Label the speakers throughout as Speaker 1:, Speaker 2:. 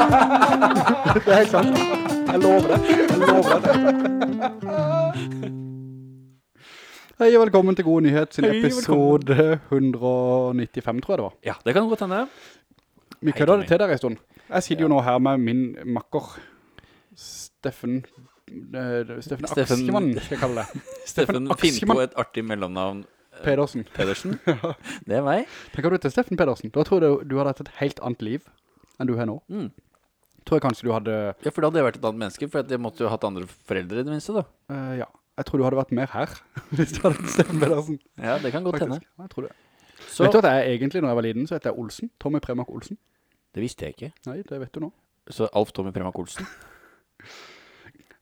Speaker 1: Det er helt sant. Jeg lover det. Jeg lover det. Hei og velkommen til God nyhet sin
Speaker 2: Hei,
Speaker 1: episode 195, tror jeg det var.
Speaker 2: Ja, det kan godt hende.
Speaker 1: Vi
Speaker 2: Hei,
Speaker 1: kødda
Speaker 2: Tommy.
Speaker 1: det til der en stund. Jeg sitter jo nå her med min makker, Steffen eh, Steffen
Speaker 2: Steffen-
Speaker 1: Aksjemann, skal jeg kalle det.
Speaker 2: Steffen, finn
Speaker 1: Aksmann.
Speaker 2: på et artig mellomnavn.
Speaker 1: Pedersen.
Speaker 2: Pedersen. Det er meg.
Speaker 1: Tenk at du heter Steffen Pedersen. Da tror jeg du hadde hatt et helt annet liv enn du har nå.
Speaker 2: Mm.
Speaker 1: Tror jeg kanskje du hadde
Speaker 2: Ja, for da hadde jeg vært et annet menneske, for at jeg måtte jo hatt andre foreldre i det minste, da.
Speaker 1: eh, Ja. Jeg tror du hadde vært mer her hvis du hadde hett Steffen Pedersen.
Speaker 2: Ja, det kan godt hende.
Speaker 1: faktisk. Ja, Jeg tror det.
Speaker 2: Så
Speaker 1: Vet du at jeg egentlig, når jeg var liten, så heter jeg Olsen? Tommy Premak Olsen?
Speaker 2: Det visste jeg ikke.
Speaker 1: Nei, det vet du nå.
Speaker 2: Så Alf Tommy Premak Olsen.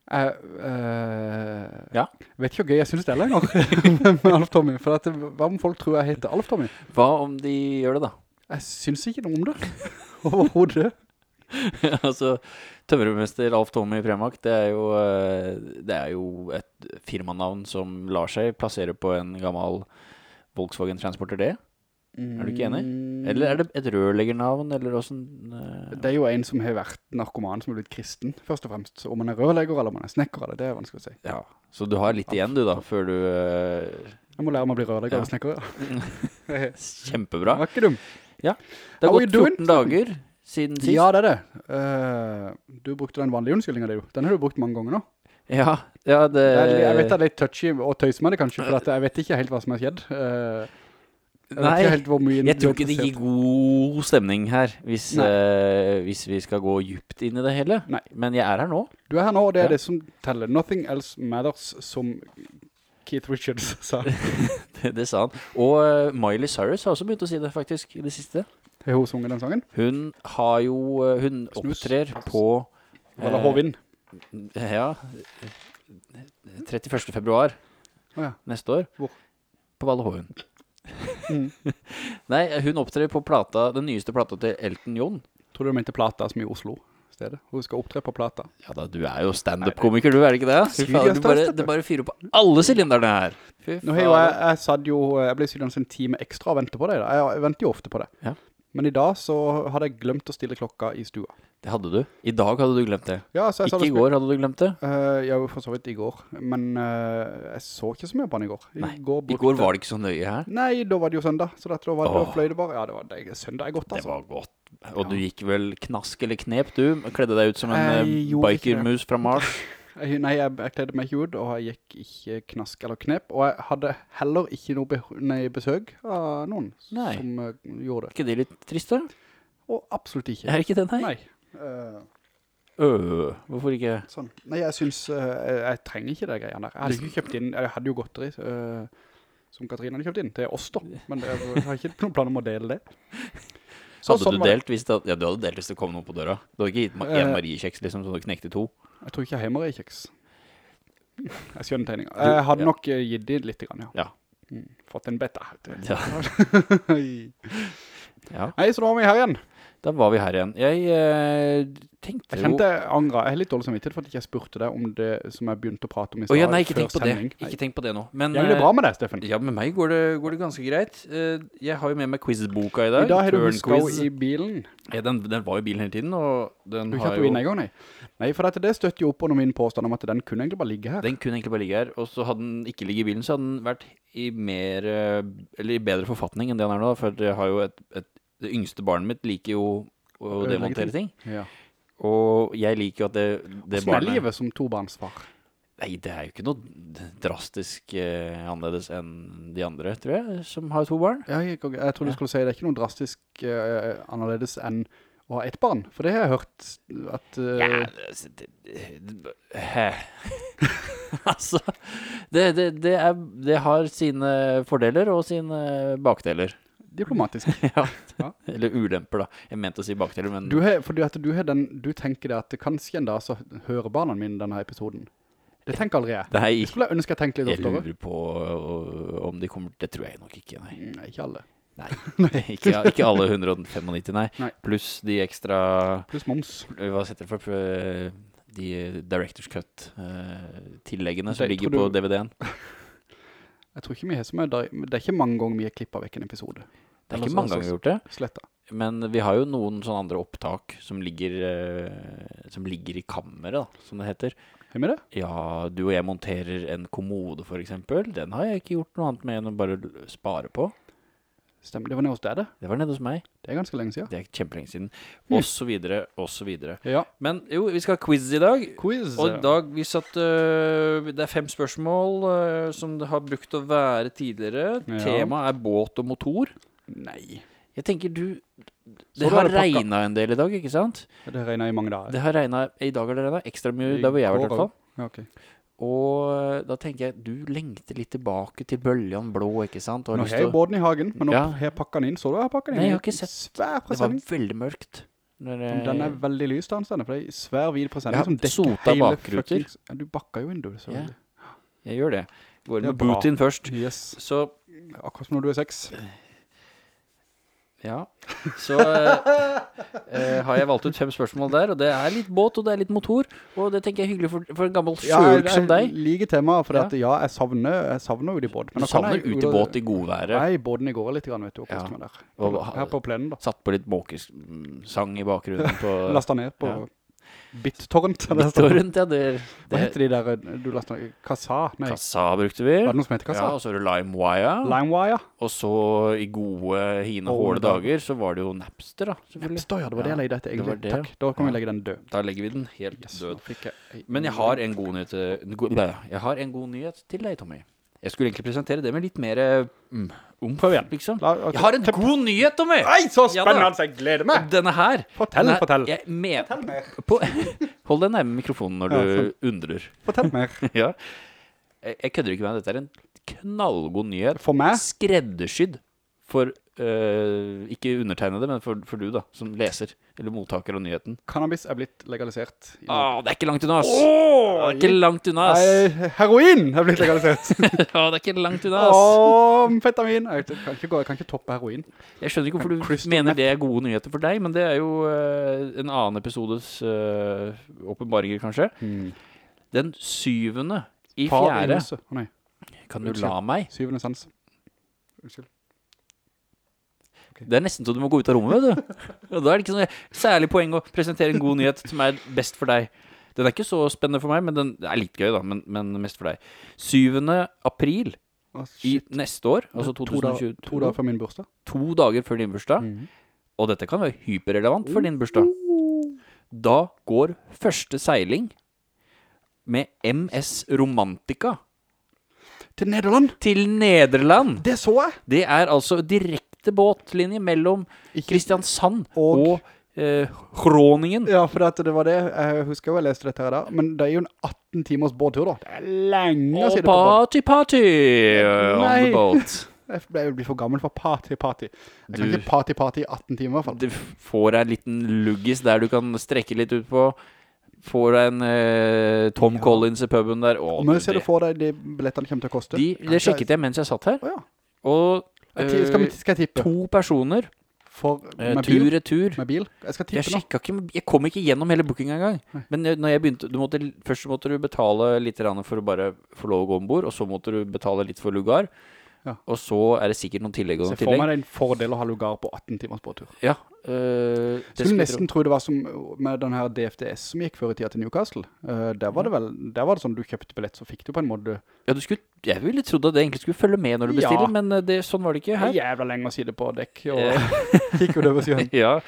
Speaker 1: Jeg eh,
Speaker 2: Ja.
Speaker 1: vet ikke hvor gøy jeg synes det er lenger med Alf Tommy. For at, hva om folk tror jeg heter Alf Tommy?
Speaker 2: Hva om de gjør det, da?
Speaker 1: Jeg synes ikke noe om det. Overhodet.
Speaker 2: altså, tømmermester Alf Tommy Premak, det er, jo, eh, det er jo et firmanavn som lar seg plassere på en gammel Volkswagen Transporter D. Er du ikke enig?
Speaker 1: Mm.
Speaker 2: Eller er det et rørleggernavn, eller åssen eh,
Speaker 1: Det er jo en som har vært narkoman som har blitt kristen, først og fremst. Så om man er rørlegger eller om man er snekker, eller det er vanskelig å si.
Speaker 2: Ja. Så du har litt igjen, du, da, før du eh,
Speaker 1: Jeg må lære meg å bli rørlegger
Speaker 2: Ja.
Speaker 1: eller snekker. Ja.
Speaker 2: Kjempebra.
Speaker 1: Det var ikke dum.
Speaker 2: Det har
Speaker 1: How you
Speaker 2: gått
Speaker 1: doing?
Speaker 2: 14 dager siden sist.
Speaker 1: Ja, det er det. Eh, du brukte den vanlige unnskyldningen, det jo. Den har du brukt mange ganger nå.
Speaker 2: ja, ja, det,
Speaker 1: Det er, jeg
Speaker 2: Eh.
Speaker 1: vet det er litt touchy å tøyse med det kanskje, for at jeg vet ikke helt hva som har skjedd. Eh, jeg vet ikke
Speaker 2: Nei,
Speaker 1: helt hvor mye...
Speaker 2: jeg tror
Speaker 1: du har
Speaker 2: ikke det gir
Speaker 1: prestert.
Speaker 2: god stemning her, hvis,
Speaker 1: Nei.
Speaker 2: eh, hvis vi skal gå djupt inn i det hele.
Speaker 1: Nei.
Speaker 2: Men jeg er her nå.
Speaker 1: Du er her nå, og det er
Speaker 2: Ja.
Speaker 1: det som teller. Nothing else matters, som Keith Richards sa.
Speaker 2: Det, det sa han. Og eh, Miley Cyrus har også begynt å si det, faktisk, i det siste.
Speaker 1: Har hun sunget den sangen?
Speaker 2: Hun har jo eh, Hun
Speaker 1: Snus.
Speaker 2: opptrer på
Speaker 1: Eller
Speaker 2: Eh,
Speaker 1: Håvin?
Speaker 2: Ja 31. februar
Speaker 1: Å ja.
Speaker 2: neste år.
Speaker 1: Hvor?
Speaker 2: På Valle Hovin.
Speaker 1: Mm.
Speaker 2: Nei, hun opptrer på plata, den nyeste plata til Elton John.
Speaker 1: Tror du du mente Plata som i Oslo stedet? Hun skal opptre på Plata.
Speaker 2: Ja da, du er jo standup-komiker, du, er det ikke det? Fy
Speaker 1: Skulle
Speaker 2: faen,
Speaker 1: jeg
Speaker 2: du bare,
Speaker 1: standup?
Speaker 2: det bare fyrer på alle sylinderne her. Fy
Speaker 1: Nå har jo jeg, jeg satt jo, jeg ble sydende en time ekstra og ventet på deg da. Jeg- Jeg venter jo ofte på det.
Speaker 2: Ja.
Speaker 1: Men i dag så hadde jeg glemt å stille klokka i stua.
Speaker 2: Det hadde du. I dag hadde du glemt det.
Speaker 1: Ja, så jeg
Speaker 2: Ikke i går hadde du glemt det.
Speaker 1: Uh, ja, for så vidt i går. Men eh, jeg så ikke så mye på han i går. I
Speaker 2: Nei,
Speaker 1: går,
Speaker 2: I går var det ikke så nøye her.
Speaker 1: Nei, da var det jo søndag, så dette, da, var, da
Speaker 2: Åh.
Speaker 1: fløy det bare. Ja, det var det, søndag er godt,
Speaker 2: Det
Speaker 1: altså.
Speaker 2: var godt. Og du gikk vel knask eller knep, du? Kledde deg ut som en eh,
Speaker 1: Jeg gjorde ikke det.
Speaker 2: bikermus fra Mars?
Speaker 1: Jeg, nei, jeg, jeg kledde meg ikke ut, og jeg gikk ikke knask eller knep, og jeg hadde heller ikke noe beh- nei, besøk av noen
Speaker 2: Nei.
Speaker 1: som eh, gjorde
Speaker 2: Er
Speaker 1: det.
Speaker 2: ikke det litt trist, da?
Speaker 1: Og absolutt ikke.
Speaker 2: Er ikke det, nei?
Speaker 1: Nei. Eh,
Speaker 2: Øh, hvorfor ikke?
Speaker 1: sånn. Nei, jeg synes, eh, jeg, jeg trenger ikke det greiene der. Jeg hadde jo kjøpt inn, jeg hadde jo godteri, eh, som Katrine hadde kjøpt inn, til oss da, men jeg, jeg har ikke noen plan om å dele det. Så
Speaker 2: hadde
Speaker 1: sånn
Speaker 2: du
Speaker 1: var det.
Speaker 2: delt hvis det, ja, du hadde delt hvis det kom noen på døra? Du hadde ikke gitt meg
Speaker 1: Eh.
Speaker 2: én Mariekjeks, liksom, så du knekte to?
Speaker 1: Jeg tror ikke jeg har hjemmer i kjeks. Jeg skjønner tegninga. Jeg hadde
Speaker 2: ja.
Speaker 1: nok eh, gitt inn litt, grann, ja.
Speaker 2: Ja.
Speaker 1: Mm, Fått en beta.
Speaker 2: Ja.
Speaker 1: Hei,
Speaker 2: ja.
Speaker 1: så nå er vi her igjen.
Speaker 2: Da var vi her igjen. Jeg eh, tenkte
Speaker 1: Jeg
Speaker 2: jo
Speaker 1: kjente jeg angret. Jeg har litt dårlig samvittighet for at ikke jeg spurte deg om det som jeg begynte å prate om i
Speaker 2: Å
Speaker 1: stad.
Speaker 2: ja, nei, ikke tenk
Speaker 1: før
Speaker 2: på det.
Speaker 1: sending. Nei.
Speaker 2: Ikke tenk på det nå. Men
Speaker 1: Jeg gjør det
Speaker 2: eh,
Speaker 1: bra med deg, Steffen.
Speaker 2: ja, med meg går det, går det ganske greit. Eh, Jeg har jo med meg quizboka i
Speaker 1: I
Speaker 2: dag.
Speaker 1: dag har du
Speaker 2: Turn
Speaker 1: huska
Speaker 2: quiz.
Speaker 1: i bilen.
Speaker 2: ja, den, den var jo i bilen hele tiden, og den
Speaker 1: Du
Speaker 2: har
Speaker 1: kjørte jo
Speaker 2: jo
Speaker 1: inn en gang, nei. Nei, for dette, det støtter jo opp under min påstand om at den kunne egentlig bare ligge her.
Speaker 2: Den kunne egentlig bare ligge her. Og så hadde den ikke ligget i bilen, så hadde den vært i mer eh, Eller i bedre forfatning enn det den er nå, for jeg har jo et, et Det yngste barnet mitt liker jo å
Speaker 1: Ødelegge
Speaker 2: demontere ting.
Speaker 1: Ja.
Speaker 2: Og jeg liker jo at det, det
Speaker 1: Hvordan er
Speaker 2: barnet
Speaker 1: livet som tobarnsfar?
Speaker 2: Nei, det er jo ikke noe drastisk eh, annerledes enn de andre, tror jeg, som har to barn.
Speaker 1: Ja, jeg, jeg tror du
Speaker 2: Ja.
Speaker 1: skulle si det er ikke noe drastisk eh, annerledes enn å ha ett barn. For det har jeg hørt at eh,
Speaker 2: Ja, altså, det, det, hæ? altså det, det, det, er, det har sine fordeler og sine bakdeler.
Speaker 1: diplomatisk.
Speaker 2: ja.
Speaker 1: Ja.
Speaker 2: Eller ulemper, da. Jeg mente å si bakdeler, men
Speaker 1: Du har, fordi at du har den, du tenker det at kanskje en dag så hører barna mine denne episoden. Det tenker aldri jeg.
Speaker 2: Nei,
Speaker 1: Det skulle jeg ønske jeg tenkte litt
Speaker 2: jeg
Speaker 1: oftere.
Speaker 2: lurer på øh, om de kommer Det tror jeg nok ikke, nei.
Speaker 1: Nei, ikke alle.
Speaker 2: Nei, ikke, ikke alle 195, nei.
Speaker 1: Nei.
Speaker 2: Pluss de ekstra
Speaker 1: Pluss moms.
Speaker 2: Hva heter det for eh, de Directors Cut-tilleggene som
Speaker 1: Det
Speaker 2: ligger på
Speaker 1: tror du-
Speaker 2: DVD-en?
Speaker 1: Jeg tror ikke vi har så mye, der- det er ikke mange ganger vi har klippet vekk en episode.
Speaker 2: Det er
Speaker 1: Eller
Speaker 2: ikke
Speaker 1: så-
Speaker 2: mange
Speaker 1: så-
Speaker 2: ganger vi har gjort det.
Speaker 1: Sletta.
Speaker 2: Men vi har jo noen sånne andre opptak som ligger, eh, som ligger i kammeret, da, som det heter.
Speaker 1: Hvem er det?
Speaker 2: Ja, du og jeg monterer en kommode, for eksempel. Den har jeg ikke gjort noe annet med enn å bare l- spare på.
Speaker 1: Stemmer, det var nede hos deg det.
Speaker 2: Det var nede hos meg.
Speaker 1: Det er ganske lenge siden.
Speaker 2: Det er kjempelenge siden.
Speaker 1: Mm.
Speaker 2: Og så videre, og så videre.
Speaker 1: Ja,
Speaker 2: Men jo, vi skal ha quiz i dag.
Speaker 1: quiz.
Speaker 2: Og i dag vi satt øh, Det er fem spørsmål øh, som det har brukt å være tidligere.
Speaker 1: Ja.
Speaker 2: Temaet er båt og motor.
Speaker 1: Nei.
Speaker 2: Jeg tenker du
Speaker 1: Så da
Speaker 2: Det har
Speaker 1: er det pakka.
Speaker 2: regna en del i dag, ikke sant?
Speaker 1: Det regner i mange dager.
Speaker 2: Det har regnet, I dag har det regna ekstra mye
Speaker 1: I
Speaker 2: der hvor jeg har vært,
Speaker 1: går
Speaker 2: i hvert fall.
Speaker 1: Ja, ok.
Speaker 2: Og øh, da tenker jeg du lengter litt tilbake til Bøljan Blå, ikke sant? Og har
Speaker 1: Nå
Speaker 2: lyst
Speaker 1: har jeg
Speaker 2: til å-
Speaker 1: båten i hagen, men nå
Speaker 2: Ja.
Speaker 1: har jeg pakket den inn. Så du har pakket den
Speaker 2: Nei,
Speaker 1: inn?
Speaker 2: jeg har ikke
Speaker 1: I
Speaker 2: sett.
Speaker 1: Svær
Speaker 2: det var
Speaker 1: presenning.
Speaker 2: veldig mørkt. Når, jeg-
Speaker 1: Den er veldig lys da, Anstene, for det er en svær vid presenning
Speaker 2: Ja,
Speaker 1: som
Speaker 2: sota
Speaker 1: dekker hele
Speaker 2: bakruter.
Speaker 1: fuckings- Ja, du bakker jo inn, du.
Speaker 2: Ja.
Speaker 1: selvfølgelig.
Speaker 2: Jeg gjør det. Går
Speaker 1: Det er
Speaker 2: med
Speaker 1: bra.
Speaker 2: boot-in først.
Speaker 1: Yes.
Speaker 2: Så
Speaker 1: Akkurat som når du er seks.
Speaker 2: Ja. Så eh, eh, har jeg valgt ut fem spørsmål der, og det er litt båt, og det er litt motor, og det tenker jeg er hyggelig for, for en gammel sjøulk
Speaker 1: jeg-
Speaker 2: som
Speaker 1: jeg
Speaker 2: deg.
Speaker 1: liker temaet, for
Speaker 2: Ja.
Speaker 1: at, ja, jeg savner, jeg savner jo de båt.
Speaker 2: Du
Speaker 1: nå kan
Speaker 2: savner
Speaker 1: jeg-
Speaker 2: utebåt i godværet.
Speaker 1: Nei, båten i går litt, grann, vet du, og
Speaker 2: Ja.
Speaker 1: koste meg der.
Speaker 2: Og ha-
Speaker 1: Her på plenen da.
Speaker 2: Satt på litt måkesang i bakgrunnen på
Speaker 1: Lasta ned på
Speaker 2: Ja.
Speaker 1: BitTorrent. eller sånn.
Speaker 2: Torrent, ja. Det,
Speaker 1: Hva
Speaker 2: det,
Speaker 1: heter de der eh, du lasta ned? Kassa? Nei,
Speaker 2: kassa brukte vi.
Speaker 1: var det noe som heter
Speaker 2: Ja,
Speaker 1: Kassa?
Speaker 2: og så er det
Speaker 1: Ah.
Speaker 2: LimeWire.
Speaker 1: LimeWire?
Speaker 2: Og så i gode, hine,
Speaker 1: Håle
Speaker 2: håle dager så var det jo Napster, da. Selvfølgelig.
Speaker 1: Napster, ja, det var det jeg leide etter,
Speaker 2: det var
Speaker 1: egentlig.
Speaker 2: det,
Speaker 1: Takk, da kan vi
Speaker 2: Ja.
Speaker 1: legge den død.
Speaker 2: Da legger vi den helt
Speaker 1: Yes,
Speaker 2: død.
Speaker 1: nå fikk jeg ei-
Speaker 2: Men jeg har en god nyhet eh, en god- blæ, Jeg har en god nyhet til deg, Tommy. Jeg skulle egentlig presentere det med litt mer eh, mm, omf,
Speaker 1: Prøv igjen.
Speaker 2: liksom.
Speaker 1: La- ok.
Speaker 2: Jeg har en god nyhet, Tommy!
Speaker 1: Nei, så
Speaker 2: Ja
Speaker 1: spennende!
Speaker 2: da.
Speaker 1: altså, jeg gleder meg!
Speaker 2: Denne her.
Speaker 1: Fortell,
Speaker 2: Den er-
Speaker 1: fortell.
Speaker 2: Jeg med,
Speaker 1: Fortell mer.
Speaker 2: på, hold deg nærme mikrofonen når
Speaker 1: Ja,
Speaker 2: du undrer.
Speaker 1: Fortell mer.
Speaker 2: ja. Jeg, jeg kødder ikke med deg. Dette er en knallgod nyhet.
Speaker 1: For meg?
Speaker 2: Skreddersydd for eh, Ikke undertegnede, men for, for du, da. Som leser eller mottaker av nyheten.
Speaker 1: Cannabis er blitt legalisert. i Norge.
Speaker 2: Å, det er ikke langt unna, Ah, ass! det er ikke langt unna, ass!
Speaker 1: Nei, heroin er blitt legalisert.
Speaker 2: Å, det er ikke langt unna, ass!
Speaker 1: Åh, amfetamin. Jeg vet ikke, kan ikke, gå- jeg kan ikke toppe heroin.
Speaker 2: Jeg skjønner ikke hvorfor du
Speaker 1: Crystal
Speaker 2: mener
Speaker 1: meth.
Speaker 2: det er gode nyheter for deg, men det er jo eh, en annen episodes eh, åpenbaringer, kanskje. Den syvende i
Speaker 1: Par
Speaker 2: fjerde
Speaker 1: innelse. Å nei,
Speaker 2: Kan du la meg?
Speaker 1: syvende sans. Unnskyld.
Speaker 2: Det er nesten så du må gå ut av rommet, vet du. Og da er det ikke sånn særlig poeng å presentere en god nyhet som er best for deg. Den er ikke så spennende for meg, men den det er litt gøy, da. Men, men mest for deg. 7. april
Speaker 1: Å,
Speaker 2: i
Speaker 1: shit.
Speaker 2: neste år, altså
Speaker 1: To dager-
Speaker 2: 2022.
Speaker 1: To dager før Mhm. min bursdag.
Speaker 2: to dager før din bursdag, og dette kan være hyperrelevant for din bursdag,
Speaker 1: Uh.
Speaker 2: da går første seiling med MS Romantica
Speaker 1: Til Nederland!
Speaker 2: til Nederland.
Speaker 1: Det så jeg!
Speaker 2: Det er altså direkte båtlinje mellom
Speaker 1: Ikke-
Speaker 2: Kristiansand
Speaker 1: Og-
Speaker 2: og, eh, Groningen.
Speaker 1: Ja, for at det var det. Jeg husker jo jeg leste dette her da. Men det er jo en 18 timers båttur da. Det er lenge
Speaker 2: Og
Speaker 1: siden på båt.
Speaker 2: party, party eh, on
Speaker 1: Nei.
Speaker 2: the boat.
Speaker 1: Jeg ble jo blitt for gammel for party-party. Jeg kan
Speaker 2: Du-
Speaker 1: ikke party-party i 18 timer i hvert fall.
Speaker 2: Du får deg en liten luggis der du kan strekke litt ut på. Får deg en eh, Tom
Speaker 1: Ja.
Speaker 2: Collins i puben der. Å,
Speaker 1: Og
Speaker 2: du,
Speaker 1: mye ser du for deg de billettene kommer til å koste?
Speaker 2: De, det sjekket jeg mens jeg satt her.
Speaker 1: Å ja.
Speaker 2: Og
Speaker 1: Jeg ti- skal,
Speaker 2: eh,
Speaker 1: vi- skal jeg tippe?
Speaker 2: to personer,
Speaker 1: For,
Speaker 2: eh,
Speaker 1: med bil?
Speaker 2: tur-retur.
Speaker 1: Med bil? Jeg skal
Speaker 2: Jeg
Speaker 1: tippe nå.
Speaker 2: sjekka ikke Jeg kom ikke gjennom hele bookinga engang.
Speaker 1: Nei.
Speaker 2: Men jeg- når jeg begynte du måtte, Først måtte du betale litt grann for å bare få lov å gå om bord, og så måtte du betale litt for lugar.
Speaker 1: Ja.
Speaker 2: Og så er det sikkert noen tillegg og
Speaker 1: Se
Speaker 2: noen
Speaker 1: for meg
Speaker 2: tillegg.
Speaker 1: det er en fordel å ha lugar på 18 timers båttur.
Speaker 2: Ja,
Speaker 1: Skulle
Speaker 2: eh, det skulle jeg tro.
Speaker 1: nesten tro det var som med den her DFDS som gikk før i tida til Newcastle. Eh, der var det vel, der var det sånn du kjøpte billett, så fikk du på en måte
Speaker 2: ja, du skulle, jeg ville trodd at det egentlig skulle følge med når du
Speaker 1: Ja.
Speaker 2: bestiller, men eh, det, sånn var det ikke her.
Speaker 1: jævla lenge å si det på dekk, og gikk jo det over siden.
Speaker 2: ja. Eh.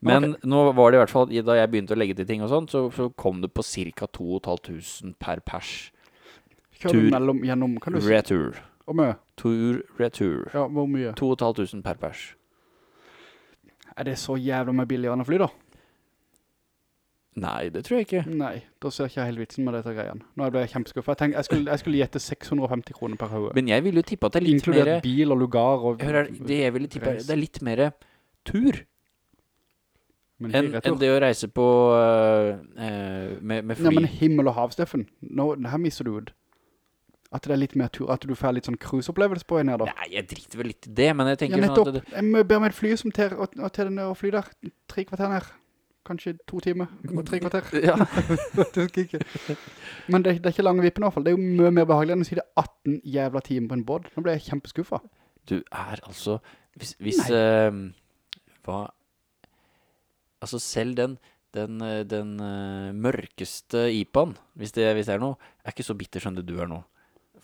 Speaker 2: Men nå var det i hvert fall Da jeg begynte å legge til ting og sånn, så, så kom det på ca. 2500 per pers.
Speaker 1: Kjører
Speaker 2: Tur.
Speaker 1: du mellom, gjennom, kan du si,
Speaker 2: Retur.
Speaker 1: og mye?
Speaker 2: Tur, retur.
Speaker 1: Ja, hvor mye?
Speaker 2: 2500 per pers.
Speaker 1: Er det så jævla mye billigere enn å fly da?
Speaker 2: Nei, det tror jeg ikke.
Speaker 1: Nei, da ser jeg ikke helt vitsen med dette greien. Nå ble jeg kjempeskuffet. Jeg, tenkte- jeg, skulle- jeg skulle gjette 650 kroner per høye.
Speaker 2: Men jeg ville jo tippa at det er litt mer
Speaker 1: Inkludert bil og lugar og...
Speaker 2: Hør her, det jeg ville tippa
Speaker 1: Reis.
Speaker 2: Det er litt mer tur
Speaker 1: Men
Speaker 2: enn
Speaker 1: ikke retur.
Speaker 2: enn det å reise på eh, eh, med, med
Speaker 1: Nei,
Speaker 2: fly.
Speaker 1: men himmel og hav, Steffen. Nå, her misser du ut. At det er litt mer tur, at du får litt sånn cruise-opplevelse på en her da.
Speaker 2: Nei, jeg driter vel litt i det, men jeg
Speaker 1: Ja,
Speaker 2: tenker sånn
Speaker 1: nettopp.
Speaker 2: at det,
Speaker 1: Jeg må be om et fly som til, og, og til den der, og fly der. Tre kvarter ned. Kanskje to timer og tre kvarter.
Speaker 2: ja.
Speaker 1: Det husker jeg ikke. Men det, det er ikke lange vippen i hvert fall. Det er jo mye mer behagelig enn å si det er 18 jævla timer på en båt. Nå ble jeg kjempeskuffa.
Speaker 2: Du er altså Hvis, hvis eh, ehm, Hva Altså selv den, den, eh, den eh, mørkeste IPA-en, hvis, det- hvis det er noe, er ikke så bitter som det du er nå.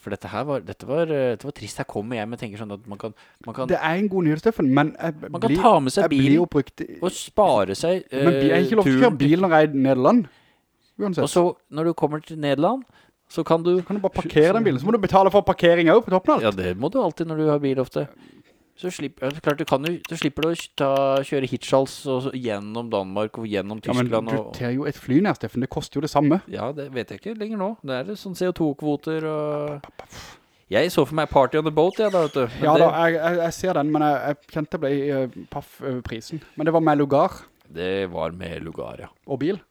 Speaker 2: For dette her var, dette var, eh, dette var trist. Her kommer jeg med tenker sånn at man kan, man kan,
Speaker 1: Det er en god nyhet, Steffen, men jeg,
Speaker 2: man kan
Speaker 1: blir,
Speaker 2: ta med seg
Speaker 1: jeg blir jo
Speaker 2: bilen
Speaker 1: brukt... i-
Speaker 2: og spare seg
Speaker 1: Men bi- jeg har
Speaker 2: eh,
Speaker 1: ikke lov til å
Speaker 2: turen
Speaker 1: kjøre bil altså. når jeg er i Nederland.
Speaker 2: Og
Speaker 1: Uansett.
Speaker 2: så når du kommer til Nederland, så kan du
Speaker 1: Kan du bare parkere den bilen, så må du betale for parkering også på toppen av alt.
Speaker 2: Ja, det må du alltid når du har bil ofte. Så, slipp, ja, det er klart du kan jo, så slipper du å ta, kjøre hitchhals og, så gjennom Danmark og gjennom
Speaker 1: Ja, men
Speaker 2: Tyskland.
Speaker 1: du
Speaker 2: og,
Speaker 1: tar jo et fly ned, Steffen, det koster jo det samme.
Speaker 2: ja, det vet jeg ikke lenger nå. Det er det sånn CO2-kvoter og Jeg så for meg Party on the Boat, jeg, da, vet du. Men
Speaker 1: Ja da,
Speaker 2: det,
Speaker 1: jeg, jeg, jeg ser den, men jeg, jeg kjente jeg ble eh, paff over prisen. Men det var med lugar
Speaker 2: det var med lugar, ja.
Speaker 1: og bil.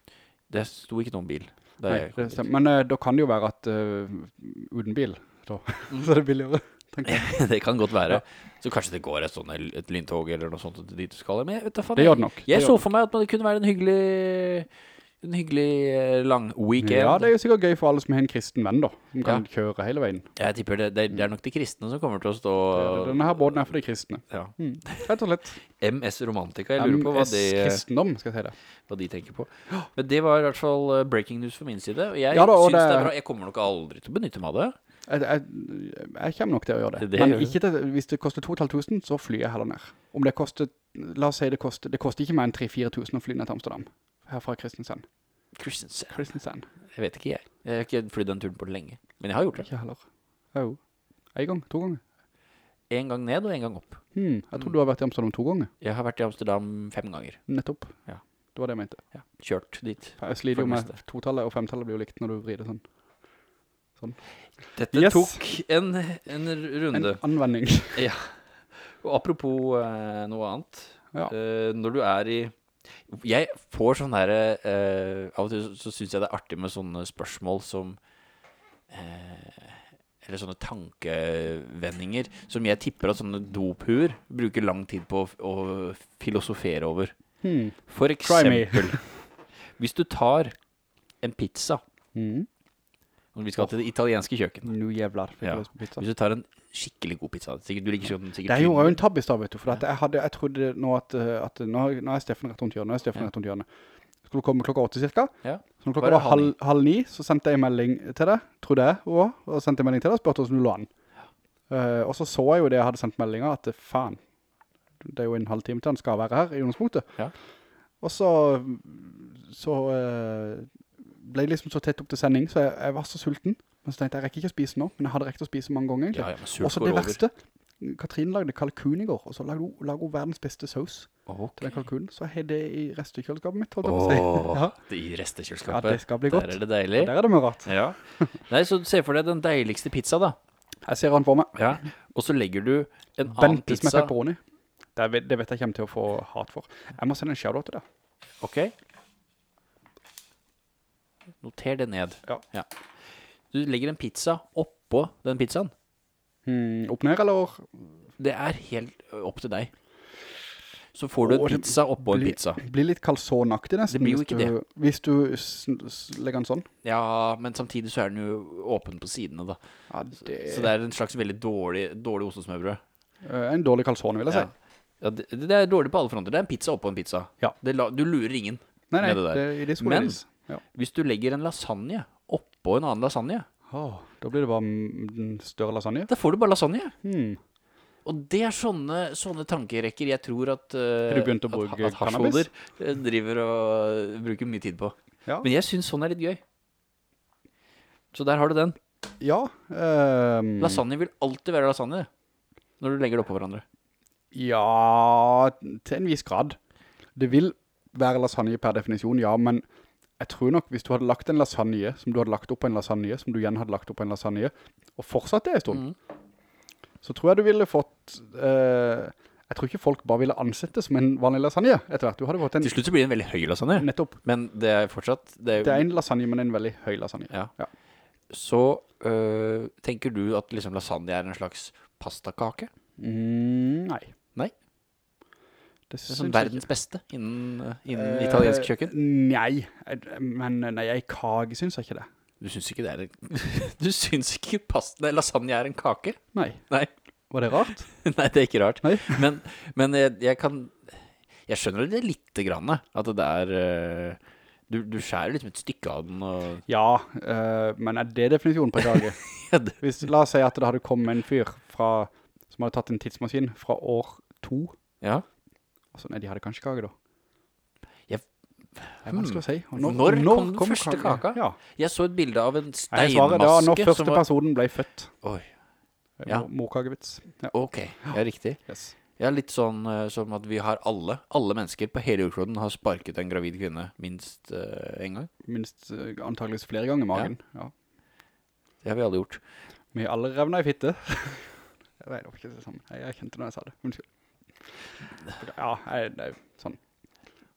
Speaker 2: Det sto ikke noen bil. da
Speaker 1: Nei,
Speaker 2: jeg kom
Speaker 1: det
Speaker 2: dit.
Speaker 1: stemmer. Men eh, da kan det jo være at eh, uten bil, da.
Speaker 2: Mm.
Speaker 1: så er det billigere.
Speaker 2: det kan godt være. Så kanskje det går et, sånn, et lyntog eller noe sånt dit du skal. Men jeg vet da faen.
Speaker 1: Det gjør det nok.
Speaker 2: Jeg
Speaker 1: Det
Speaker 2: så
Speaker 1: gjør det.
Speaker 2: for meg at det kunne være en hyggelig En hyggelig eh, lang weekend.
Speaker 1: Ja, det er jo sikkert gøy for alle som har en kristen venn da, som kan kjøre hele veien.
Speaker 2: Jeg tipper det, det, det er nok de kristne som kommer til å stå
Speaker 1: Denne her båten er for de kristne.
Speaker 2: ja.
Speaker 1: Mm. Rett og slett.
Speaker 2: MS Romantica. Jeg lurer på hva
Speaker 1: MS
Speaker 2: de, eh,
Speaker 1: kristendom, skal jeg si det.
Speaker 2: hva de tenker på. Men det var i hvert fall eh, breaking news for min side. Og jeg
Speaker 1: Ja da, og
Speaker 2: syns det...
Speaker 1: det-
Speaker 2: er bra. Jeg kommer nok aldri til å benytte meg av det.
Speaker 1: Jeg, jeg, jeg kommer nok til å gjøre det.
Speaker 2: Det
Speaker 1: Men
Speaker 2: gjør du.
Speaker 1: ikke til, hvis det koster 2500, så flyr jeg heller ned. Om det koster, la oss si det koster, det koster ikke mer enn 3-4000 å fly ned til Amsterdam. Her fra Kristiansand.
Speaker 2: Christensen.
Speaker 1: Kristiansand,
Speaker 2: Jeg vet ikke, jeg. Jeg har ikke flydd den turen på lenge. Men jeg har gjort det.
Speaker 1: ikke heller. Jo. En gang, to ganger.
Speaker 2: En gang ned og en gang opp.
Speaker 1: Hmm. Jeg tror
Speaker 2: Mm.
Speaker 1: du har vært i Amsterdam to ganger.
Speaker 2: Jeg har vært i Amsterdam fem ganger.
Speaker 1: Nettopp.
Speaker 2: Ja.
Speaker 1: Det var det jeg mente.
Speaker 2: Ja. Kjørt dit.
Speaker 1: Jeg sliter jo
Speaker 2: For det
Speaker 1: med totallet og femtallet blir jo likt når du vrir det sånn.
Speaker 2: Dette
Speaker 1: Yes.
Speaker 2: tok en, en
Speaker 1: En
Speaker 2: runde.
Speaker 1: anvending.
Speaker 2: Og apropos eh, noe annet.
Speaker 1: Ja.
Speaker 2: Eh, når du er i Jeg får sånn derre eh, Av og til så- så syns jeg det er artig med sånne spørsmål som eh, Eller sånne tankevendinger som jeg tipper at sånne dophuer bruker lang tid på å, f- å filosofere over.
Speaker 1: Hmm.
Speaker 2: For
Speaker 1: Try me.
Speaker 2: eksempel Hvis du tar en pizza
Speaker 1: Mm.
Speaker 2: Vi skal til det italienske kjøkkenet.
Speaker 1: Nå jævlar. fikk jeg
Speaker 2: Ja.
Speaker 1: lyst på pizza.
Speaker 2: Hvis du tar en skikkelig god pizza sikkert, Du liker sånn, sikkert, sikkert
Speaker 1: Det gjorde jeg jo en tabbe i stad, vet du. For at jeg, hadde, jeg trodde nå at, eh, at nå, nå er Steffen rett rundt hjørnet. Nå er Steffen
Speaker 2: Ja.
Speaker 1: rett rundt hjørnet. Skulle komme klokka åtte cirka.
Speaker 2: Ja.
Speaker 1: Så når
Speaker 2: Var
Speaker 1: klokka
Speaker 2: det
Speaker 1: var halv, halv ni, så sendte jeg en melding til deg, trodde jeg også, og sendte en melding til deg og spurte hvordan du lå an. Eh, og så så jeg jo det jeg hadde sendt meldinger, at eh, faen, det er jo en halv time til han skal være her i ungdomspunktet.
Speaker 2: Ja.
Speaker 1: Og så, så eh, ble jeg liksom så tett opp til sending, så jeg, jeg var så sulten. Men så tenkte jeg, jeg rekker ikke å spise nå, men jeg hadde rekt å spise mange ganger egentlig.
Speaker 2: Ja, ja, men sult
Speaker 1: Og så
Speaker 2: går
Speaker 1: det
Speaker 2: over.
Speaker 1: verste, Katrine lagde kalkun i går, og så lagde hun, lagde hun verdens beste saus
Speaker 2: Ok.
Speaker 1: til den kalkunen, så jeg har det i restekjøleskapet mitt, holdt jeg på å si.
Speaker 2: Åh,
Speaker 1: Ja.
Speaker 2: det i
Speaker 1: Ja,
Speaker 2: restekjøleskapet.
Speaker 1: det skal bli godt.
Speaker 2: Der er det deilig.
Speaker 1: Der er det mye rart.
Speaker 2: Ja. Nei, så se for deg den deiligste pizza, da.
Speaker 1: Jeg ser han på meg.
Speaker 2: Ja. Og så legger du en annen
Speaker 1: Bentes med
Speaker 2: pizza.
Speaker 1: pepperoni. Det, vet- det vet jeg kommer til å få hat for. Jeg må sende en shoutout til deg.
Speaker 2: Ok. Noter det ned.
Speaker 1: Ja.
Speaker 2: Du legger en pizza oppå den pizzaen.
Speaker 1: Hmm, opp ned, eller?
Speaker 2: Det er helt ø, opp til deg. Så får du en
Speaker 1: Åh, det
Speaker 2: pizza oppå en
Speaker 1: blir-
Speaker 2: pizza.
Speaker 1: Blir litt kalsonaktig nesten.
Speaker 2: Det blir jo
Speaker 1: hvis
Speaker 2: ikke
Speaker 1: du- Hvis du s- s- legger den sånn.
Speaker 2: Ja, men samtidig så er den jo åpen på sidene, da.
Speaker 1: Ja, det,
Speaker 2: Så det er en slags veldig dårlig, dårlig ostesmørbrød.
Speaker 1: Eh, en dårlig kalsone, vil jeg
Speaker 2: Ja.
Speaker 1: si.
Speaker 2: Ja, det, det er dårlig på alle fronter. Det er en pizza oppå en pizza.
Speaker 1: Ja.
Speaker 2: Det la, du lurer ingen.
Speaker 1: Nei, nei,
Speaker 2: Med det
Speaker 1: det,
Speaker 2: der.
Speaker 1: i det skulle
Speaker 2: Men-
Speaker 1: det vis. Ja.
Speaker 2: Hvis du legger en lasagne oppå en annen lasagne,
Speaker 1: Åh, da blir det bare mm, en større lasagne.
Speaker 2: da får du bare lasagne.
Speaker 1: Hmm.
Speaker 2: Og det er sånne, sånne tankerekker jeg tror at eh,
Speaker 1: Har du begynt å
Speaker 2: at-
Speaker 1: bruke
Speaker 2: at hasjhoder, eh, driver og eh, bruker mye tid på.
Speaker 1: Ja.
Speaker 2: Men jeg syns sånn er litt gøy. Så der har du den.
Speaker 1: Ja. ehm,
Speaker 2: Lasagne vil alltid være lasagne når du legger det oppå hverandre.
Speaker 1: Ja, til en viss grad. Det vil være lasagne per definisjon, ja, men jeg tror nok hvis du hadde lagt en lasagne, som du hadde lagt opp på en lasagne, som du igjen hadde lagt opp på en lasagne, og fortsatt det en stund,
Speaker 2: Mhm.
Speaker 1: så tror jeg du ville fått... eh, jeg tror ikke folk bare ville ansette som en vanlig lasagne etter hvert. Du hadde fått en...
Speaker 2: Til slutt så blir det en veldig høy lasagne,
Speaker 1: Nettopp.
Speaker 2: men det er fortsatt det er, jo-
Speaker 1: Mm. Det er en lasagne, men en veldig høy lasagne.
Speaker 2: Ja.
Speaker 1: Ja.
Speaker 2: Så øh, tenker du at liksom lasagne er en slags pastakake?
Speaker 1: Mm, nei.
Speaker 2: Nei.
Speaker 1: Det
Speaker 2: Det er
Speaker 1: synes
Speaker 2: Sånn
Speaker 1: jeg ikke.
Speaker 2: verdens beste innen, øh, innen
Speaker 1: Eh,
Speaker 2: italiensk kjøkken?
Speaker 1: Nei, jeg- men nei, ei kage synes jeg ikke det.
Speaker 2: Du syns ikke det er en Du syns ikke past... Nei, lasagne er en kake?
Speaker 1: Nei.
Speaker 2: Nei.
Speaker 1: Var det rart?
Speaker 2: Nei, det er ikke rart.
Speaker 1: Nei.
Speaker 2: Men, men jeg, jeg kan Jeg skjønner det lite grann, jeg, at det er eh, du, du skjærer liksom et stykke av den og
Speaker 1: Ja, eh, men er det definisjonen på Jage?
Speaker 2: Ja, det-
Speaker 1: Hvis, la oss si at det hadde kommet en fyr fra, som hadde tatt en tidsmaskin fra år to.
Speaker 2: Ja.
Speaker 1: Altså, nei, de hadde kanskje kake da.
Speaker 2: Jeg-
Speaker 1: Det er vanskelig å si. Og
Speaker 2: Når kom den første kaka?
Speaker 1: Ja.
Speaker 2: Jeg så et bilde av en
Speaker 1: Nei, svaret det var når
Speaker 2: steinmaske
Speaker 1: første
Speaker 2: som var
Speaker 1: personen ble født.
Speaker 2: Oi,
Speaker 1: Det
Speaker 2: Ja.
Speaker 1: var Morkakevits. Ja,
Speaker 2: OK. Ja, riktig.
Speaker 1: yes.
Speaker 2: Ja, litt sånn eh, som at vi har alle, alle mennesker på hele jordkloden har sparket en gravid kvinne minst eh, en gang.
Speaker 1: Minst eh, antageligvis flere ganger i magen. Ja.
Speaker 2: Det har vi alle gjort.
Speaker 1: Vi alle revna i fitte. Nei, det var ikke det samme. Jeg, jeg kjente når jeg sa det. Unnskyld. Ja, jeg, det er sånn.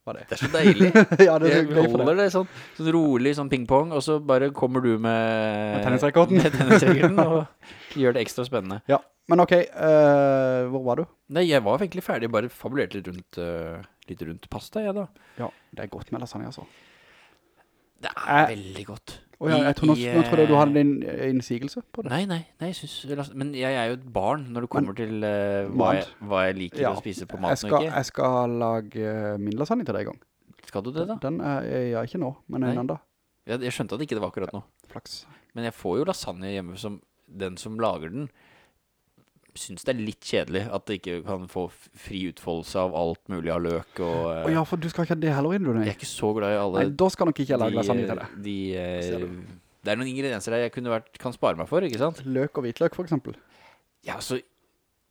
Speaker 1: Var det.
Speaker 2: Det er så deilig.
Speaker 1: ja, det er
Speaker 2: Jeg
Speaker 1: så glad for det.
Speaker 2: holder det sånn, sånn rolig sånn pingpong, og så bare kommer du med
Speaker 1: Med tennisracketen.
Speaker 2: med tennisracketen, og gjør det ekstra spennende.
Speaker 1: Ja, men ok, eh, hvor var du?
Speaker 2: Nei, jeg var egentlig ferdig, bare fabulerte litt rundt, eh, litt rundt pasta, jeg da.
Speaker 1: Ja, det er godt med lasagne, altså.
Speaker 2: Det er
Speaker 1: Eh,
Speaker 2: veldig godt.
Speaker 1: Å ja,
Speaker 2: I-
Speaker 1: jeg tror nå,
Speaker 2: i,
Speaker 1: nå trodde jeg du
Speaker 2: eh,
Speaker 1: hadde din eh, innsigelse på det.
Speaker 2: Nei, nei, nei, jeg synes, men jeg er jo et barn når det kommer til eh, hva,
Speaker 1: Mat.
Speaker 2: jeg, hva jeg liker
Speaker 1: Ja,
Speaker 2: å spise på
Speaker 1: Jeg
Speaker 2: maten
Speaker 1: skal,
Speaker 2: og ikke.
Speaker 1: jeg skal lage eh, min lasagne til deg i gang.
Speaker 2: Skal du det da?
Speaker 1: Den eh, er, ja, ikke nå, men
Speaker 2: Nei.
Speaker 1: en annen dag.
Speaker 2: Jeg, jeg skjønte at ikke det var akkurat nå.
Speaker 1: Flaks.
Speaker 2: Men jeg får jo lasagne hjemme som den som lager den, syns det er litt kjedelig at det ikke kan få f- fri utfoldelse av alt mulig av løk og eh,
Speaker 1: Å ja, for du skal ikke ha det heller inn, du,
Speaker 2: Jeg
Speaker 1: nei.
Speaker 2: er ikke så glad i alle
Speaker 1: Nei, da skal nok ikke jeg lage lasagne til deg.
Speaker 2: de, de eh,
Speaker 1: Ser du.
Speaker 2: Det er noen ingredienser der jeg kunne vært, kan spare meg for, ikke sant?
Speaker 1: Løk og hvitløk, for eksempel.
Speaker 2: Ja, altså, så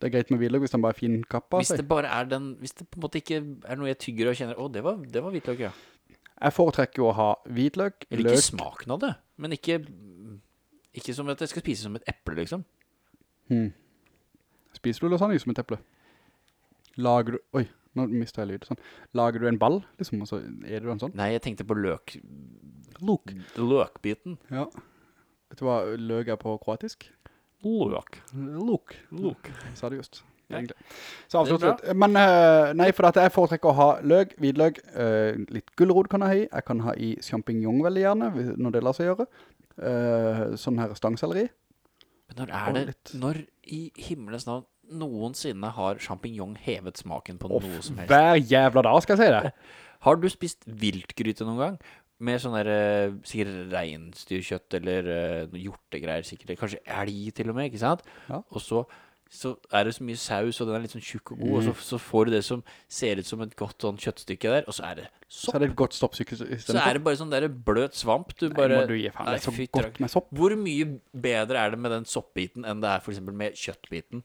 Speaker 1: Det er greit med hvitløk hvis den bare er fin kappa.
Speaker 2: Hvis det bare er den Hvis det på en måte ikke er noe jeg tygger og kjenner Å, det var, det var hvitløk, ja.
Speaker 1: Jeg foretrekker jo å ha hvitløk,
Speaker 2: Jeg liker
Speaker 1: løk.
Speaker 2: smaken av det, men ikke Ikke som at jeg skal spise som et eple, liksom.
Speaker 1: Hmm. Spiser du lasagne som et eple? Lager du... Oi, nå mistet jeg lyd. Sånn. Lager du en ball, liksom, og så er du den sånn?
Speaker 2: Nei, jeg tenkte på løk...
Speaker 1: Løk.
Speaker 2: Løkbiten.
Speaker 1: Ja. Vet du hva løk er på kroatisk?
Speaker 2: Løk.
Speaker 1: Luk.
Speaker 2: Løk.
Speaker 1: Sa det just.
Speaker 2: Ja.
Speaker 1: Egentlig. Så absolutt.
Speaker 2: Det er
Speaker 1: litt. Men eh, nei, for at jeg foretrekker å ha løk, hvitløk, eh, litt gulrot kan jeg ha i. Jeg kan ha i champignon veldig gjerne, hvis- når det lar seg gjøre. Eh, sånn her stangselleri.
Speaker 2: Men når er
Speaker 1: Og
Speaker 2: det
Speaker 1: litt-
Speaker 2: Når i himmelens navn noensinne har sjampinjong hevet smaken på
Speaker 1: Og
Speaker 2: noe som helst?
Speaker 1: hver jævla dag skal jeg si det.
Speaker 2: Har du spist viltgryte noen gang? Med sånn der eh, sikkert reinsdyrkjøtt eller eh, noe hjortegreier, sikkert. eller Kanskje elg til og med, ikke sant?
Speaker 1: Ja.
Speaker 2: Og så, så er det så mye saus, og den er litt sånn tjukk og god, og så,
Speaker 1: Mm.
Speaker 2: så får du det som ser ut som et godt sånn kjøttstykke der, og så er det
Speaker 1: Så er
Speaker 2: sopp.
Speaker 1: det et godt stoppsyke i
Speaker 2: Så
Speaker 1: stedet.
Speaker 2: er det bare sånn der bløt svamp. Du
Speaker 1: Nei,
Speaker 2: bare
Speaker 1: må du gi faen. Det
Speaker 2: Nei,
Speaker 1: er så
Speaker 2: fy
Speaker 1: godt med sopp.
Speaker 2: trakk. Hvor mye bedre er det med den soppbiten enn det er for eksempel med kjøttbiten?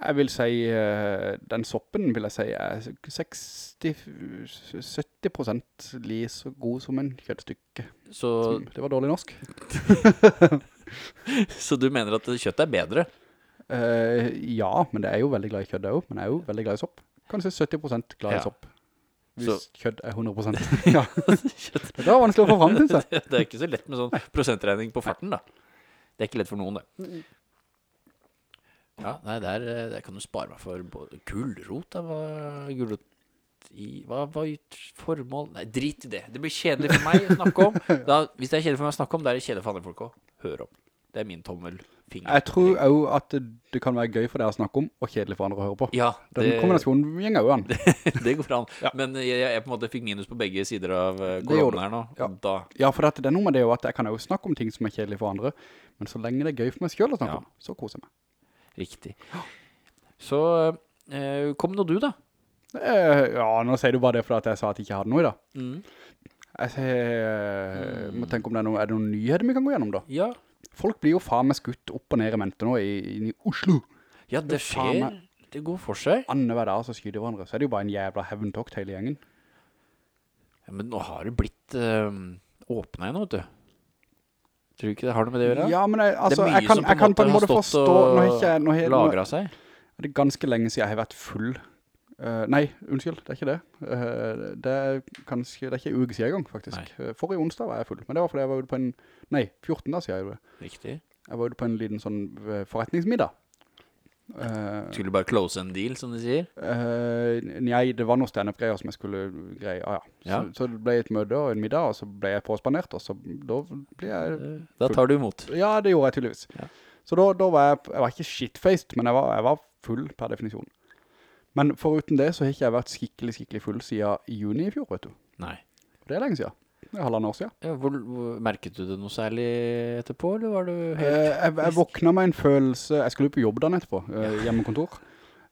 Speaker 1: Jeg vil si, eh, den soppen vil jeg si er 60-70 prosent li så god som en kjøttstykke.
Speaker 2: Så,
Speaker 1: Som- Det var dårlig norsk.
Speaker 2: så du mener at kjøttet er bedre?
Speaker 1: Eh, ja, men det er jo veldig glad i kjødd også, men jeg er jo veldig glad i sopp. Kanskje 70% glad
Speaker 2: Ja.
Speaker 1: i sopp. Hvis
Speaker 2: Så-
Speaker 1: kjødd er 100%. ja,
Speaker 2: Kjøtt
Speaker 1: det var vanskelig å få fram, synes jeg.
Speaker 2: det det er ikke så lett med sånn prosentregning på farten, da. Det er ikke lett for noen, det. Ja, nei, der, eh, der kan du spare meg for både gulrot da, hva, gulrot i, hva var formål? Nei, drit i det. Det blir kjedelig for meg å snakke om. Da, hvis det er kjedelig for meg å snakke om, da er det kjedelig for andre folk å høre om. Det er min tommelfinger.
Speaker 1: Jeg tror også at det kan være gøy for deg å snakke om, og kjedelig for andre å høre på.
Speaker 2: ja,
Speaker 1: Den
Speaker 2: det,
Speaker 1: kombinasjonen gjenger jo an.
Speaker 2: det går an.
Speaker 1: Ja.
Speaker 2: Men jeg, jeg, jeg på en måte fikk minus på begge sider av eh,
Speaker 1: gjorde du.
Speaker 2: kolonnen her nå.
Speaker 1: Ja.
Speaker 2: Da,
Speaker 1: Ja, for det, det er noe med det jo at jeg kan også snakke om ting som er kjedelig for andre, men så lenge det er gøy for meg selv å snakke
Speaker 2: Ja.
Speaker 1: om, så koser jeg meg.
Speaker 2: riktig. Så eh, kom nå du, da.
Speaker 1: Eh, ja, nå sier du bare det fordi at jeg sa at jeg ikke hadde noe i dag.
Speaker 2: Mm.
Speaker 1: Jeg sier, må tenke om det er noe, er det noen nyheter vi kan gå gjennom da?
Speaker 2: Ja,
Speaker 1: Folk blir jo faen meg skutt opp og ned i mente nå i, inn i Oslo.
Speaker 2: Ja, det
Speaker 1: faen
Speaker 2: skjer. Det går for seg.
Speaker 1: Anne hver dag så skyter de hverandre, så er det jo bare en jævla hevntokt hele gjengen.
Speaker 2: Ja, men nå har det blitt uh, åpna igjen, vet du. Tror du ikke det har noe med det å gjøre?
Speaker 1: Ja, men jeg, altså,
Speaker 2: mye
Speaker 1: jeg kan,
Speaker 2: som på en
Speaker 1: jeg kan på en
Speaker 2: måte
Speaker 1: måte
Speaker 2: har
Speaker 1: forstå
Speaker 2: stått og
Speaker 1: nå er ikke, jeg- nå er, nå
Speaker 2: Lagra seg?
Speaker 1: er det ganske lenge siden jeg har vært full. Eh, nei, unnskyld, det er ikke det. Eh, det er kanskje, det er ikke en uke siden i gang, faktisk. Eh, Forrige onsdag var jeg full, men det var fordi jeg var ute på en, nei, 14 da siden jeg var det.
Speaker 2: Riktig.
Speaker 1: Jeg var ute på en liten sånn eh, forretningsmiddag. Eh,
Speaker 2: Skulle bare close en deal, som de sier.
Speaker 1: Eh, nei, det var noen stand-up-greier som jeg skulle greie, ah, ja.
Speaker 2: Ja.
Speaker 1: Så, så det ble et møte og en middag, og så ble jeg påspandert, og så da ble jeg...
Speaker 2: Eh, Da tar du imot.
Speaker 1: Ja, det gjorde jeg tydeligvis.
Speaker 2: Ja.
Speaker 1: Så da, da var jeg, jeg var ikke shitfaced, men jeg var, jeg var full per definisjon. Men foruten det så har ikke jeg vært skikkelig, skikkelig full siden juni i fjor, vet du.
Speaker 2: Nei.
Speaker 1: Det er lenge siden. Det er halvannet år siden.
Speaker 2: Ja, hvor, hvor, merket du det noe særlig etterpå, eller var du
Speaker 1: Eh,
Speaker 2: helt
Speaker 1: Jeg, jeg våkna med en følelse, jeg skulle jo på jobb dagen etterpå, eh, hjemmekontor.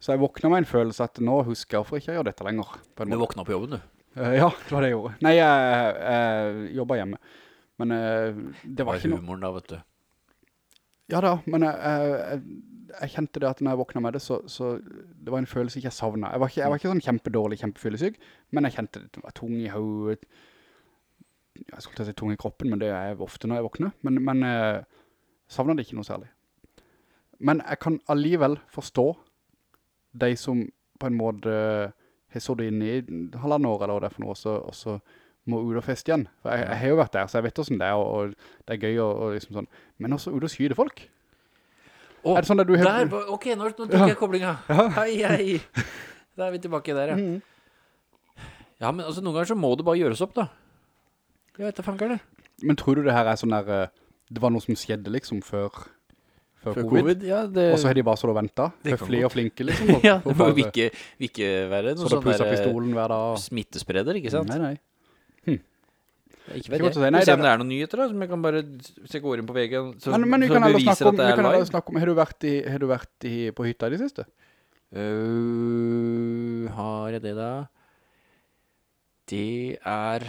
Speaker 1: Så jeg våkna med en følelse at nå husker jeg hvorfor ikke jeg gjør dette lenger. På en
Speaker 2: Du
Speaker 1: måte.
Speaker 2: våkna på jobben, du.
Speaker 1: Eh, ja, det var det jeg gjorde. Nei, jeg, jeg jobbet hjemme. Men eh, det var ikke noe...
Speaker 2: humoren da, vet du.
Speaker 1: Ja da, men jeg, jeg, jeg- jeg kjente det at når jeg våkna med det, så, så det var en følelse ikke jeg savnet. Jeg var ikke, jeg var ikke sånn kjempedårlig, kjempefyllesyk, men jeg kjente det var tung i hodet. Jeg skulle til å si tung i kroppen, men det er jeg ofte når jeg våkner. Men, men eh, savnet det ikke noe særlig. Men jeg kan alligevel forstå de som på en måte har så det inne i halvannet år eller hva det er for noe, og så, og så må ut og feste igjen. For jeg, jeg har jo vært der, så jeg vet hvordan det er, og, og det er gøy og, og liksom sånn. Men også ut og skyde folk.
Speaker 2: Å,
Speaker 1: er det sånn at du har...
Speaker 2: Der, var- ok, nå, nå tok jeg koblinga. Hei, hei. Da er vi tilbake der, ja.
Speaker 1: Mhm.
Speaker 2: Ja, men altså, noen ganger så må det bare gjøres opp, da. Jeg vet da fanker det.
Speaker 1: Men tror du det her er sånn der eh, Det var noe som skjedde liksom før Før,
Speaker 2: Før
Speaker 1: covid,
Speaker 2: covid, ja, det...
Speaker 1: Og så har de bare så det og ventet
Speaker 2: Det kan
Speaker 1: Høflige og flinke liksom og-
Speaker 2: ja, det
Speaker 1: og
Speaker 2: må
Speaker 1: bare-
Speaker 2: jo ikke, ikke
Speaker 1: Så
Speaker 2: være noe
Speaker 1: det
Speaker 2: sånn
Speaker 1: plussa
Speaker 2: der eh,
Speaker 1: pistolen hver dag og-
Speaker 2: smittspreder, ikke sant?
Speaker 1: Nei, nei
Speaker 2: Ikke
Speaker 1: Ikke
Speaker 2: vet
Speaker 1: godt å
Speaker 2: jeg.
Speaker 1: si. Nei,
Speaker 2: Vi
Speaker 1: det
Speaker 2: ser om det er noen nyheter, da, som jeg kan bare Hvis jeg går inn på VG, så,
Speaker 1: Men, men vi
Speaker 2: så
Speaker 1: kan alle
Speaker 2: beviser
Speaker 1: snakke om,
Speaker 2: at det
Speaker 1: vi kan
Speaker 2: er
Speaker 1: altså- alle
Speaker 2: live.
Speaker 1: snakke om Har du vært, i, har du vært i, på hytta i det siste?
Speaker 2: Øh, har jeg det, da? Det er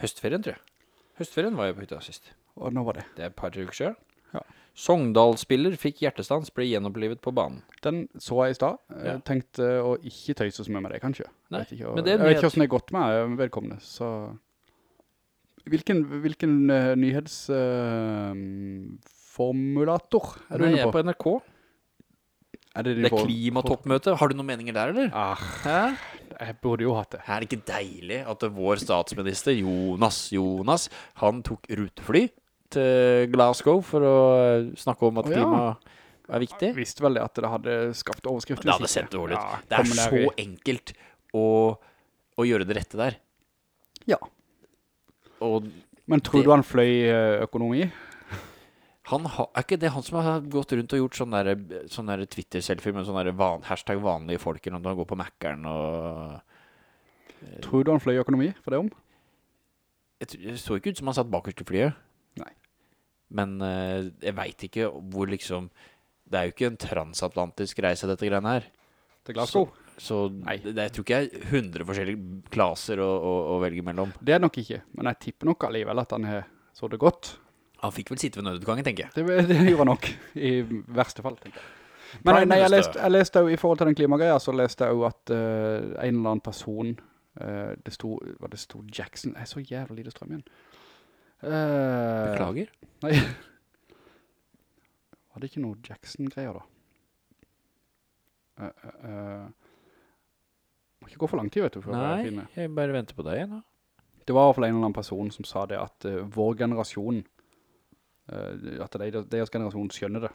Speaker 2: høstferien, tror jeg. Høstferien var jeg på hytta sist.
Speaker 1: Og nå var det
Speaker 2: Det er et par uker siden.
Speaker 1: Ja.
Speaker 2: Sogndal-spiller fikk hjertestans, ble gjenopplivet på banen.
Speaker 1: Den så jeg i sted
Speaker 2: Ja.
Speaker 1: Tenkte å ikke tøyse så mye med det, kanskje
Speaker 2: Nei,
Speaker 1: Jeg vet ikke, hva-
Speaker 2: men det er en
Speaker 1: Jeg vet ikke
Speaker 2: nyhet.
Speaker 1: hvordan det har gått med eh, vedkommende Så Hvilken, hvilken eh, nyhets eh, Formulator er du
Speaker 2: Nei,
Speaker 1: inne
Speaker 2: jeg er
Speaker 1: på?
Speaker 2: på NRK.
Speaker 1: det, de
Speaker 2: Det er
Speaker 1: får-
Speaker 2: klimatoppmøte. Har du noen meninger der, eller?
Speaker 1: Ah,
Speaker 2: Hæ?
Speaker 1: jeg burde jo hatt det.
Speaker 2: Er det ikke deilig at vår statsminister, Jonas Jonas, han tok rutefly til Glasgow for å eh, snakke om at
Speaker 1: Å, ja.
Speaker 2: klima er viktig?
Speaker 1: Jeg visste vel det at det hadde skapt overskrift.
Speaker 2: Det
Speaker 1: hvis
Speaker 2: hadde
Speaker 1: ikke.
Speaker 2: sett dårlig
Speaker 1: Ja,
Speaker 2: ut. Det er
Speaker 1: kommer
Speaker 2: så
Speaker 1: der i-
Speaker 2: enkelt å, å gjøre det rette der.
Speaker 1: Ja.
Speaker 2: Og
Speaker 1: Men tror
Speaker 2: Det-
Speaker 1: du han fløy eh, økonomi?
Speaker 2: han har, er ikke det han som har gått rundt og gjort sånn der, sånn der Twitter-selfie med sånn der van, hashtag vanlige folk, eller noe, han går på Mækkern og
Speaker 1: Tror du han fløy økonomi for det om?
Speaker 2: Jeg tr- Det så ikke ut som han satt bakerst i flyet.
Speaker 1: Nei.
Speaker 2: Men eh, jeg veit ikke hvor liksom Det er jo ikke en transatlantisk reise, dette greiene her.
Speaker 1: Til
Speaker 2: Glasgow? Så
Speaker 1: Nei.
Speaker 2: det, det- jeg tror ikke jeg er 100 forskjellige klaser å, å, å velge mellom.
Speaker 1: Det er det nok ikke, men jeg tipper nok alligevel at han har så det godt.
Speaker 2: Han fikk vel sitte ved nødutgangen, tenker jeg.
Speaker 1: Det, det gjorde han nok, i verste fall, tenker jeg. Men
Speaker 2: Prime
Speaker 1: nei, jeg,
Speaker 2: Minister.
Speaker 1: leste, jeg leste jo, i forhold til den klimagreia, så leste jeg jo at eh, en eller annen person, eh, det sto, hva det sto, Jackson, jeg er så jævlig lite strøm igjen. Eh,
Speaker 2: Beklager.
Speaker 1: Nei. Var det ikke noe Jackson-greier da? Eh, eh, eh. Må ikke gå for lang tid, vet du. før jeg
Speaker 2: Nei,
Speaker 1: finner.
Speaker 2: jeg bare venter på deg nå.
Speaker 1: Det var i hvert fall en eller annen person som sa det at eh, vår generasjon, eh, at de, deres generasjon skjønner det.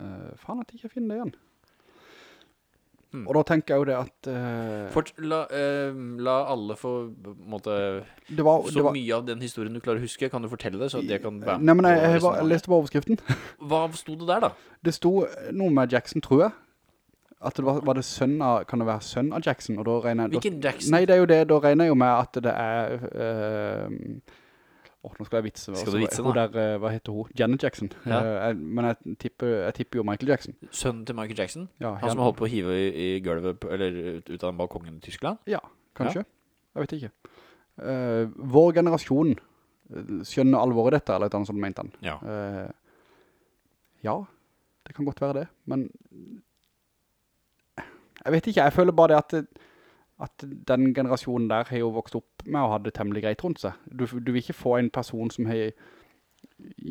Speaker 1: Eh, faen at jeg ikke finner det igjen.
Speaker 2: Hmm.
Speaker 1: Og da tenker jeg jo det at... eh,
Speaker 2: Fort, la, eh, la alle få på en måte,
Speaker 1: det var, det
Speaker 2: Så
Speaker 1: var,
Speaker 2: mye av den historien du klarer å huske, kan du fortelle det? Så at jeg kan være
Speaker 1: Nei, men jeg, jeg,
Speaker 2: på
Speaker 1: var- jeg
Speaker 2: resonemanget?
Speaker 1: leste bare overskriften.
Speaker 2: Hva sto det der, da?
Speaker 1: Det sto noe med Jackson, tror jeg. At det var, var det sønn av, kan det være sønn av Jackson? Og da regner jeg... da-
Speaker 2: Hvilken Jackson?
Speaker 1: Nei, det er jo det, da regner jeg jo med at det er... ehm, Åh, nå skal jeg vitse. med oss.
Speaker 2: Skal du vitse
Speaker 1: Hun
Speaker 2: nå?
Speaker 1: der, eh, hva heter hun? Janet Jackson.
Speaker 2: Ja.
Speaker 1: Eh, jeg- men jeg tipper, jeg tipper jo Michael Jackson.
Speaker 2: Sønnen til Michael Jackson?
Speaker 1: Ja,
Speaker 2: Han som har holdt på å hive i, i gulvet på- Eller ut, ut av den balkongen i Tyskland?
Speaker 1: Ja, kanskje. Jeg vet ikke. Eh, vår generasjon eh, skjønner alvoret i dette, eller et annet sånt mente han.
Speaker 2: Ja.
Speaker 1: Eh, ja, det kan godt være det, men jeg vet ikke, jeg føler bare det at, at den generasjonen der har jo vokst opp med å ha det temmelig greit rundt seg. Du, du vil ikke få en person som har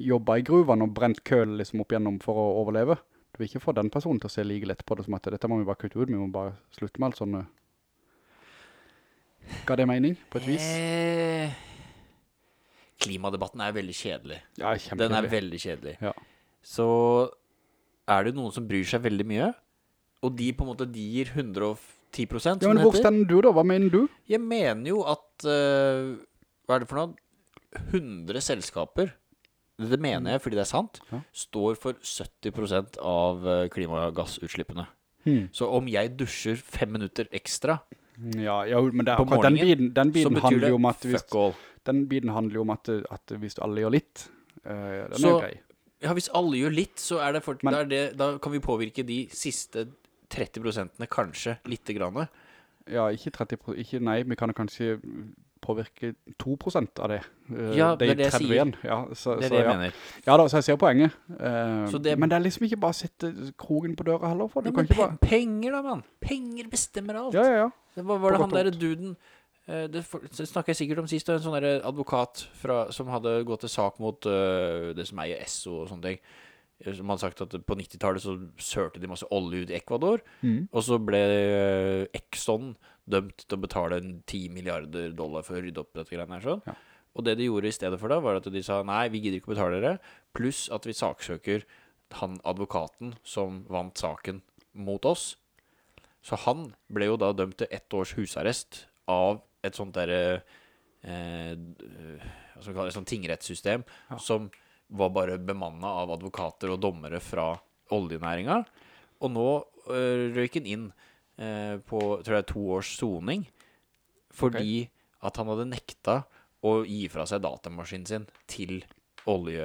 Speaker 1: jobbet i gruven og brent køl liksom opp igjennom for å overleve. Du vil ikke få den personen til å se like lett på det som at dette må vi bare kutte ut, vi må bare slutte med alt sånn. Ga det mening på et vis?
Speaker 2: Eh, klimadebatten er veldig kjedelig.
Speaker 1: Ja,
Speaker 2: Den er
Speaker 1: kjempelig.
Speaker 2: veldig kjedelig.
Speaker 1: Ja.
Speaker 2: Så er det noen som bryr seg veldig mye, og de på en måte de gir 110 som
Speaker 1: Ja, men
Speaker 2: det
Speaker 1: hvor
Speaker 2: heter.
Speaker 1: stender du da? Hva mener du?
Speaker 2: Jeg mener jo at eh, Hva er det for noe? 100 selskaper Det mener jeg fordi det er sant
Speaker 1: Ja.
Speaker 2: Står for 70% av eh, klimagassutslippene
Speaker 1: Hmm.
Speaker 2: Så om jeg dusjer fem minutter ekstra,
Speaker 1: Ja, ja, men det er
Speaker 2: På
Speaker 1: akkurat den
Speaker 2: morgenen,
Speaker 1: biten, den
Speaker 2: så
Speaker 1: biten
Speaker 2: betyr
Speaker 1: handler
Speaker 2: det
Speaker 1: jo om at hvis,
Speaker 2: fuck all.
Speaker 1: den biten handler jo om at, at hvis alle gjør litt, eh, den er
Speaker 2: Så-
Speaker 1: jo grei.
Speaker 2: Ja, hvis alle gjør litt, så er det fort,
Speaker 1: Men-
Speaker 2: da, er det, da kan vi påvirke de siste 30 kanskje lite grann.
Speaker 1: Ja, ikke 30 pro- ikke, Nei, vi kan kanskje påvirke 2 av det. Eh,
Speaker 2: Ja, det er det jeg
Speaker 1: 30
Speaker 2: sier.
Speaker 1: igjen. Ja, så,
Speaker 2: Det
Speaker 1: så,
Speaker 2: er det jeg
Speaker 1: ja.
Speaker 2: mener.
Speaker 1: ja da, så jeg ser poenget. Eh,
Speaker 2: Så det-
Speaker 1: men det er liksom ikke bare å sette kroken på døra heller. For. Du kan
Speaker 2: Nei, men
Speaker 1: ikke
Speaker 2: pe
Speaker 1: bare...
Speaker 2: penger, da, mann! Penger bestemmer alt.
Speaker 1: Ja, ja, ja.
Speaker 2: Det var, var
Speaker 1: På
Speaker 2: det han
Speaker 1: godt og
Speaker 2: derre duden eh, Det for- det snakka jeg sikkert om sist. det var En sånn derre advokat fra, som hadde gått til sak mot eh, det som eier Esso og sånne ting. Eh, Som hadde sagt at på 90-tallet så sølte de masse olje ut i Ecuador.
Speaker 1: Mm.
Speaker 2: Og så ble eh, Exxon dømt til å betale en 10 milliarder dollar for å rydde opp dette greiene her. sånn.
Speaker 1: Ja.
Speaker 2: Og det de gjorde i stedet for da, var at de sa nei, vi gidder ikke å betale dere. Pluss at vi saksøker han advokaten som vant saken mot oss. Så han ble jo da dømt til ett års husarrest av et sånt derre eh, Hva skal vi kalle det? Et sånt tingrettssystem
Speaker 1: Ja.
Speaker 2: som var bare bemanna av advokater og dommere fra oljenæringa. Og nå øh, røyk han inn eh, på tror jeg, to års soning fordi at han hadde nekta å gi fra seg datamaskinen sin til olje...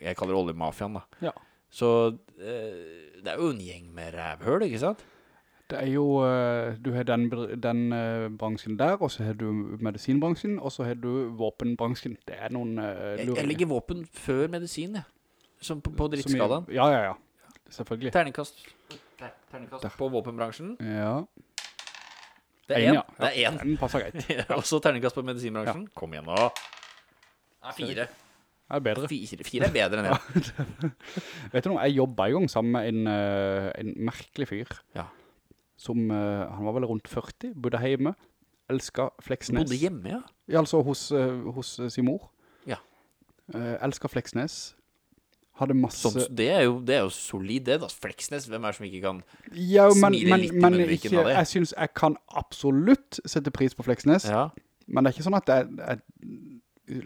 Speaker 2: Jeg kaller det oljemafiaen, da.
Speaker 1: Ja.
Speaker 2: Så eh, det er jo en gjeng med rævhøl, ikke sant?
Speaker 1: Det er jo, eh, du har den, br- den eh, bransjen der, og så har du medisinbransjen, og så har du våpenbransjen. Det er noen eh,
Speaker 2: Jeg, jeg
Speaker 1: luringer.
Speaker 2: legger våpen før medisin, jeg. Som på, på
Speaker 1: Som i-
Speaker 2: drittskalaen.
Speaker 1: Ja, ja, ja. Selvfølgelig.
Speaker 2: Terningkast. Ter- Terningkast på våpenbransjen.
Speaker 1: Ja.
Speaker 2: Det er
Speaker 1: En,
Speaker 2: én.
Speaker 1: ja.
Speaker 2: Det er én.
Speaker 1: Den passer greit.
Speaker 2: Også terningkast på medisinbransjen. Kom igjen, nå. Nei, fire.
Speaker 1: Det er bedre.
Speaker 2: Fire, fire er bedre enn én.
Speaker 1: Vet du noe, jeg jobbet en gang sammen med en, eh, en merkelig fyr.
Speaker 2: Ja.
Speaker 1: Som, eh, han var vel rundt 40, bodde hjemme, elsket Fleksnes.
Speaker 2: Bodde hjemme, ja.
Speaker 1: Ja, altså hos, eh, hos eh, sin mor.
Speaker 2: Ja.
Speaker 1: Eh, elsket Fleksnes. Hadde masse...
Speaker 2: Som, det, er jo, det er jo solid, det. da Fleksnes, hvem er det som ikke kan
Speaker 1: ja, men,
Speaker 2: smiler
Speaker 1: men,
Speaker 2: litt i
Speaker 1: men
Speaker 2: munnviken
Speaker 1: ikke,
Speaker 2: av det.
Speaker 1: jeg synes jeg kan absolutt sette pris på Fleksnes,
Speaker 2: Ja,
Speaker 1: men det er ikke sånn at jeg... jeg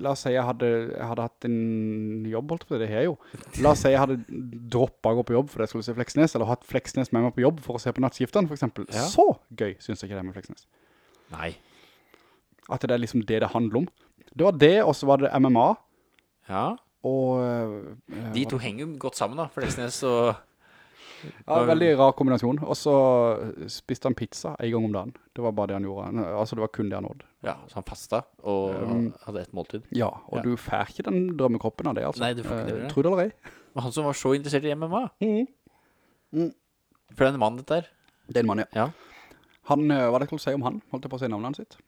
Speaker 1: La oss si jeg hadde, jeg hadde hatt en jobb, holdt jeg på å si, det har jeg jo. La oss si jeg hadde droppet å gå på jobb fordi jeg skulle se Fleksnes, eller hatt Fleksnes med meg på jobb for å se på nattskiftene, for eksempel.
Speaker 2: Ja.
Speaker 1: Så gøy synes jeg ikke det er med Fleksnes.
Speaker 2: Nei.
Speaker 1: At det er liksom det det handler om. Det var det, og så var det MMA,
Speaker 2: Ja.
Speaker 1: og eh,
Speaker 2: De to henger jo godt sammen, da. Fleksnes og
Speaker 1: ja, Veldig rar kombinasjon. Og så spiste han pizza en gang om dagen. Det var bare det han gjorde. Han- Altså, det var kun det han nådde.
Speaker 2: Ja, så han fasta og
Speaker 1: Um,
Speaker 2: hadde ett måltid.
Speaker 1: Ja, og
Speaker 2: Ja.
Speaker 1: du fær ikke den drømmekroppen av det, altså.
Speaker 2: Nei, du får ikke det,
Speaker 1: Eh,
Speaker 2: vel?
Speaker 1: Tror du eller ei?
Speaker 2: Men han som var så interessert i MMA
Speaker 1: Mhm. Mm.
Speaker 2: For det er en mann, dette her.
Speaker 1: Det er en mann, ja.
Speaker 2: Ja.
Speaker 1: Han, eh, hva er det jeg skulle si om han? Holdt jeg på å si navnet hans sitt?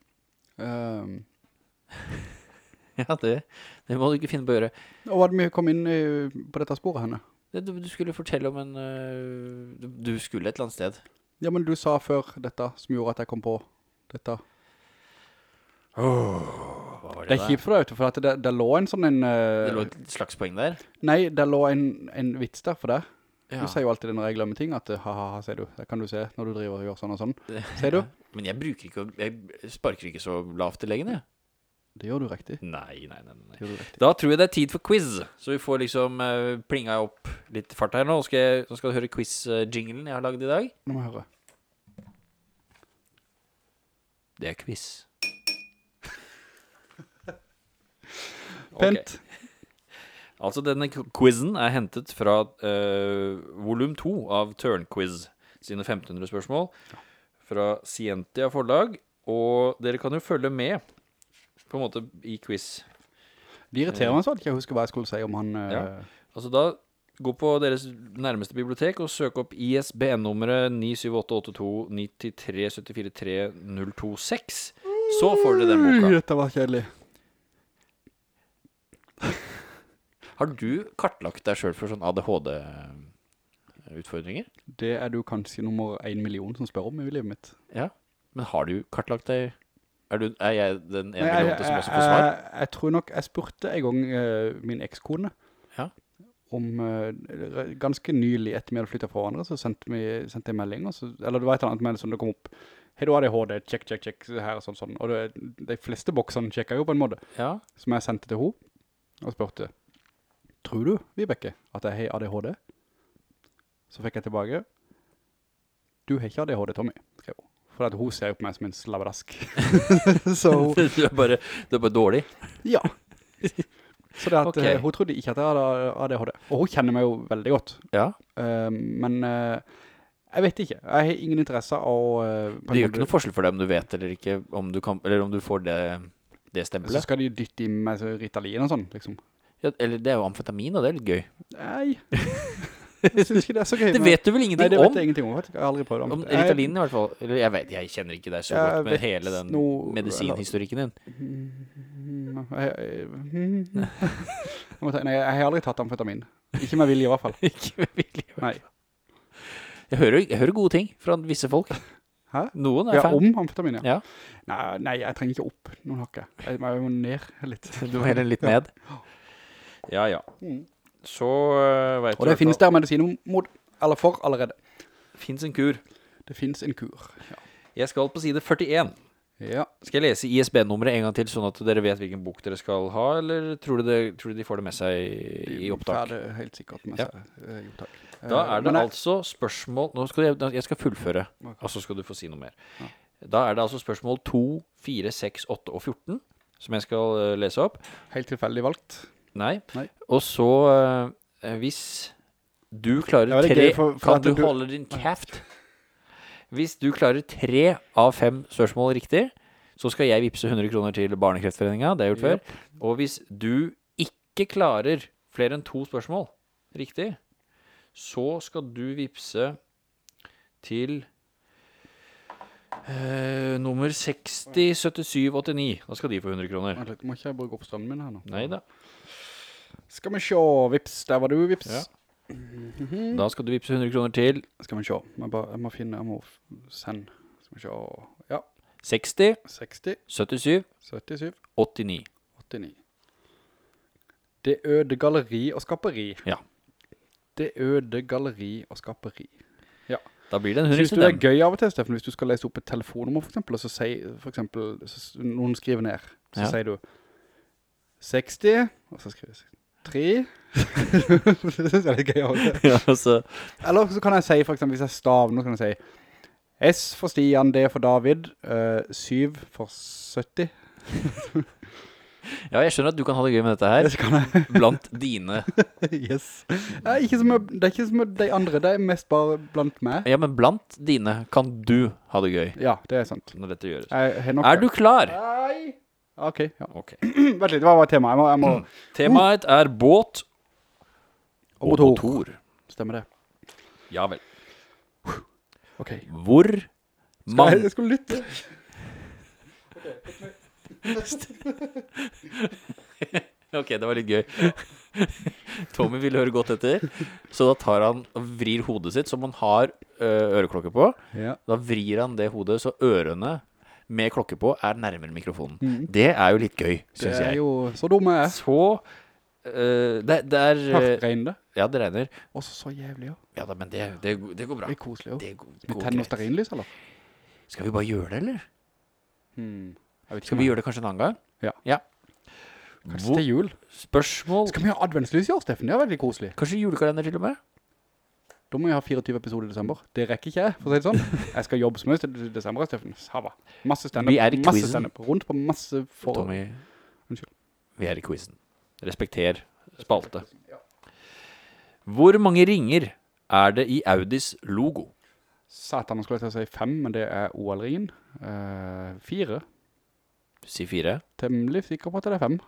Speaker 1: Eh,
Speaker 2: Ja, det, det må du ikke finne på å gjøre.
Speaker 1: og hva er det vi kom inn i, på dette sporet henne?
Speaker 2: Det, du, du skulle fortelle om en øh, du, du skulle et eller annet sted.
Speaker 1: Ja, men du sa før dette som gjorde at jeg kom på dette.
Speaker 2: Hva var
Speaker 1: Det er kjipt for deg, vet du, for at det, det lå en sånn en... eh,
Speaker 2: Det lå et slags poeng der.
Speaker 1: Nei, det lå en, en vits der for deg.
Speaker 2: Ja.
Speaker 1: Du sier jo alltid det når jeg glemmer ting, at eh, ha-ha-ha, sier du. Det kan du se når du driver og gjør sånn og sånn. Sier du?
Speaker 2: Men jeg bruker ikke å- Jeg sparker ikke så lavt i leggen, jeg.
Speaker 1: Det gjør du riktig.
Speaker 2: Nei, nei, nei, nei.
Speaker 1: Det gjør du riktig.
Speaker 2: Da tror jeg det er tid for quiz. Så vi får liksom eh, plinga opp litt fart her nå. Nå skal, jeg, nå skal du høre quiz-jinglen jeg har lagd i dag.
Speaker 1: Nå må jeg høre.
Speaker 2: Det er quiz.
Speaker 1: Pent.
Speaker 2: Altså, denne k- quizen er hentet fra uh, volum to av Tørnquiz sine 1500 spørsmål fra Scientia forlag. Og dere kan jo følge med på en måte i quiz.
Speaker 1: De irriterer meg sånn at jeg ikke husker hva jeg skulle si om han... eh,
Speaker 2: Ja. Altså da Gå på deres nærmeste bibliotek og søk opp ISBN-nummeret 9788293743026. Så får dere den
Speaker 1: Ui,
Speaker 2: boka.
Speaker 1: Dette var kjedelig.
Speaker 2: Har du kartlagt deg sjøl for sånn ADHD-utfordringer?
Speaker 1: Det er du kanskje nummer en million som spør om i livet mitt.
Speaker 2: Ja. Men har du kartlagt deg Er, du, er jeg den ene
Speaker 1: Nei, jeg,
Speaker 2: millionte som også får svar?
Speaker 1: jeg, jeg tror nok jeg spurte en gang eh, min ekskone
Speaker 2: Ja.
Speaker 1: om eh, re- ganske nylig etter vi hadde flyttet fra hverandre, så sendte, vi, sendte jeg en melding, og så, eller det var et eller annet melding som det kom opp. Hei, du har ADHD, check, check, check, her og sånn, sånn. Og det, de fleste boksene sjekket jeg jo på en måte,
Speaker 2: Ja.
Speaker 1: som jeg sendte til henne, og spurte, tror du, Vibeke, at jeg har ADHD? Så fikk jeg tilbake, Du har ikke ADHD, Tommy, skrev hun. For at hun ser jo på meg som en slaverask. så hun,
Speaker 2: du, er bare, du er bare dårlig.
Speaker 1: ja. Så det at
Speaker 2: Ok.
Speaker 1: eh, hun trodde ikke at jeg hadde ADHD. Og hun kjenner meg jo veldig godt.
Speaker 2: Ja.
Speaker 1: Eh, men eh, jeg vet ikke. Jeg har ingen interesse av å... eh, på en
Speaker 2: Det
Speaker 1: måte-
Speaker 2: gjør ikke noe forskjell for deg om du vet eller ikke, om du, kan, eller om du får det, det
Speaker 1: Så
Speaker 2: stempelet.
Speaker 1: skal de dytte i meg så Ritalin og sånn, liksom.
Speaker 2: Ja, eller det er jo amfetamin, og det er litt gøy.
Speaker 1: Nei. Jeg synes ikke det er så gøy.
Speaker 2: Det
Speaker 1: men-
Speaker 2: vet du vel
Speaker 1: Nei,
Speaker 2: ingenting
Speaker 1: det vet
Speaker 2: om?
Speaker 1: jeg ingenting om, faktisk. Jeg har aldri prøvd om.
Speaker 2: Om
Speaker 1: Jeg-
Speaker 2: Ritalin i hvert fall. Eller jeg vet, jeg kjenner ikke deg så
Speaker 1: Jeg
Speaker 2: godt med
Speaker 1: vet
Speaker 2: hele den
Speaker 1: noe-
Speaker 2: medisinhistorikken din.
Speaker 1: Mm, jeg- jeg- mm. Jeg må ta- Nei, jeg har aldri tatt amfetamin. Ikke med vilje i hvert fall.
Speaker 2: Ikke med vilje.
Speaker 1: Nei.
Speaker 2: Jeg hører, jeg hører gode ting fra visse folk.
Speaker 1: Hæ?
Speaker 2: Noen er
Speaker 1: Ja,
Speaker 2: fan.
Speaker 1: om amfetamin, ja.
Speaker 2: Ja.
Speaker 1: Nei, nei, jeg trenger ikke opp noen hakke. Jeg må jeg må ned litt.
Speaker 2: Du må heller litt ned. Ja, ja.
Speaker 1: Mm.
Speaker 2: Så veit du
Speaker 1: Og det finnes der medisin mot, eller for allerede.
Speaker 2: Fins en kur.
Speaker 1: Det finnes en kur.
Speaker 2: Jeg skal på side 41.
Speaker 1: Ja.
Speaker 2: Skal jeg lese ISB-nummeret en gang til, sånn at dere vet hvilken bok dere skal ha, eller tror du, det, tror du de får det med seg i, i
Speaker 1: Ja,
Speaker 2: opptak?
Speaker 1: det er helt sikkert med
Speaker 2: Ja.
Speaker 1: seg eh, i opptak.
Speaker 2: Da
Speaker 1: Eh,
Speaker 2: er det
Speaker 1: men jeg-
Speaker 2: altså spørsmål Nå skal jeg, jeg skal fullføre,
Speaker 1: Ok.
Speaker 2: og så skal du få si noe mer.
Speaker 1: Ja.
Speaker 2: Da er det altså spørsmål 2, 4, 6, 8 og 14 som jeg skal eh, lese opp.
Speaker 1: Helt tilfeldig valgt.
Speaker 2: Nei.
Speaker 1: Nei.
Speaker 2: Og så, eh, hvis du klarer
Speaker 1: Ja, det er
Speaker 2: tre
Speaker 1: gøy for- for
Speaker 2: Kan
Speaker 1: at
Speaker 2: du,
Speaker 1: du-
Speaker 2: holde din kjeft? Hvis du klarer tre av fem spørsmål riktig, så skal jeg vippse 100 kroner til Barnekreftforeninga. Det har jeg gjort før. Og hvis du ikke klarer flere enn to spørsmål riktig, så skal du vippse til eh, nummer 60, 77, 89. Da skal de få 100 kroner.
Speaker 1: Vent litt, må ikke jeg bruke opp strømmen min her nå?
Speaker 2: Nei da.
Speaker 1: Skal vi se, vips, der var du, vips.
Speaker 2: Ja. Da skal du vippse 100 kroner til
Speaker 1: Skal vi se, jeg, bare, jeg må finne, jeg må f- send. Skal vi se, ja,
Speaker 2: 60,
Speaker 1: 60,
Speaker 2: 77,
Speaker 1: 77,
Speaker 2: 89.
Speaker 1: 89. Det øde galleri og skaperi.
Speaker 2: Ja.
Speaker 1: Det øde galleri og skaperi.
Speaker 2: Da blir det en 100
Speaker 1: Synes du
Speaker 2: til
Speaker 1: det
Speaker 2: dem.
Speaker 1: er gøy av og til, Steffen, hvis du skal lese opp et telefonnummer for eksempel, og så sier, for eksempel, så, s- noen skriver ned, så
Speaker 2: Ja.
Speaker 1: sier du 60, og så skriver du 3. det synes jeg er litt gøy av og til.
Speaker 2: Ja, altså,
Speaker 1: Eller så kan jeg si, for eksempel, hvis jeg staver noe, så kan jeg si S for Stian, D for David, 7 for 70.
Speaker 2: ja, jeg skjønner at du kan ha det gøy med dette her.
Speaker 1: Det kan jeg.
Speaker 2: Blant dine
Speaker 1: yes. Det er ikke som, det er ikke som de andre, det er mest bare blant meg.
Speaker 2: Ja, men blant dine kan du ha det gøy
Speaker 1: Ja, det er sant.
Speaker 2: når dette gjøres.
Speaker 1: Jeg har nok
Speaker 2: Er du klar?
Speaker 1: Nei! Ok, ja.
Speaker 2: Ok.
Speaker 1: Vent litt, hva var temaet? Jeg må, jeg må...
Speaker 2: Temaet er båt
Speaker 1: Og motor. Stemmer det.
Speaker 2: Ja vel.
Speaker 1: Ok.
Speaker 2: Hvor
Speaker 1: Skal jeg,
Speaker 2: mange
Speaker 1: jeg skulle lytte.
Speaker 2: Ok, det var litt gøy. Tommy ville høre godt etter, så da tar han og vrir hodet sitt, som han har ø, øreklokke på.
Speaker 1: Ja.
Speaker 2: Da vrir han det hodet så ørene med klokke på er nærmere mikrofonen. Det er jo litt gøy,
Speaker 1: Mm. Det
Speaker 2: syns
Speaker 1: er
Speaker 2: jeg.
Speaker 1: jo så dumme jeg.
Speaker 2: Så ø, det, det er ø,
Speaker 1: Hardt regner det.
Speaker 2: Ja, det regner.
Speaker 1: Også så jævlig, ja.
Speaker 2: Ja da, men det, det, det går bra.
Speaker 1: Det er koselig, jo.
Speaker 2: Det går,
Speaker 1: Vi
Speaker 2: går
Speaker 1: tenner
Speaker 2: greit.
Speaker 1: stearinlys, eller?
Speaker 2: Skal vi bare gjøre det, eller?
Speaker 1: Hmm. Jeg vet ikke.
Speaker 2: Skal vi gjøre det kanskje en annen gang?
Speaker 1: Ja. Kanskje
Speaker 2: Hvor,
Speaker 1: til jul.
Speaker 2: spørsmål
Speaker 1: Skal vi ha adventslys i år, Steffen? Det er veldig koselig.
Speaker 2: Kanskje julekalender til og med?
Speaker 1: Da må vi ha 24 episoder i desember. Det rekker ikke jeg, for å si det sånn. Jeg skal jobbe som helst i desember, Steffen. Sava. Masse stand-up.
Speaker 2: Vi er i
Speaker 1: Masse
Speaker 2: quizen.
Speaker 1: stand-up. Rundt på masse for...
Speaker 2: Tommy,
Speaker 1: Unnskyld.
Speaker 2: vi er i quizen. Respekter spalte. Hvor mange ringer er det i Audis logo?
Speaker 1: Satan, nå skulle jeg til å si fem, men det er OL-ringen. Eh, fire.
Speaker 2: Si fire.
Speaker 1: Temmelig sikker på at det er fem.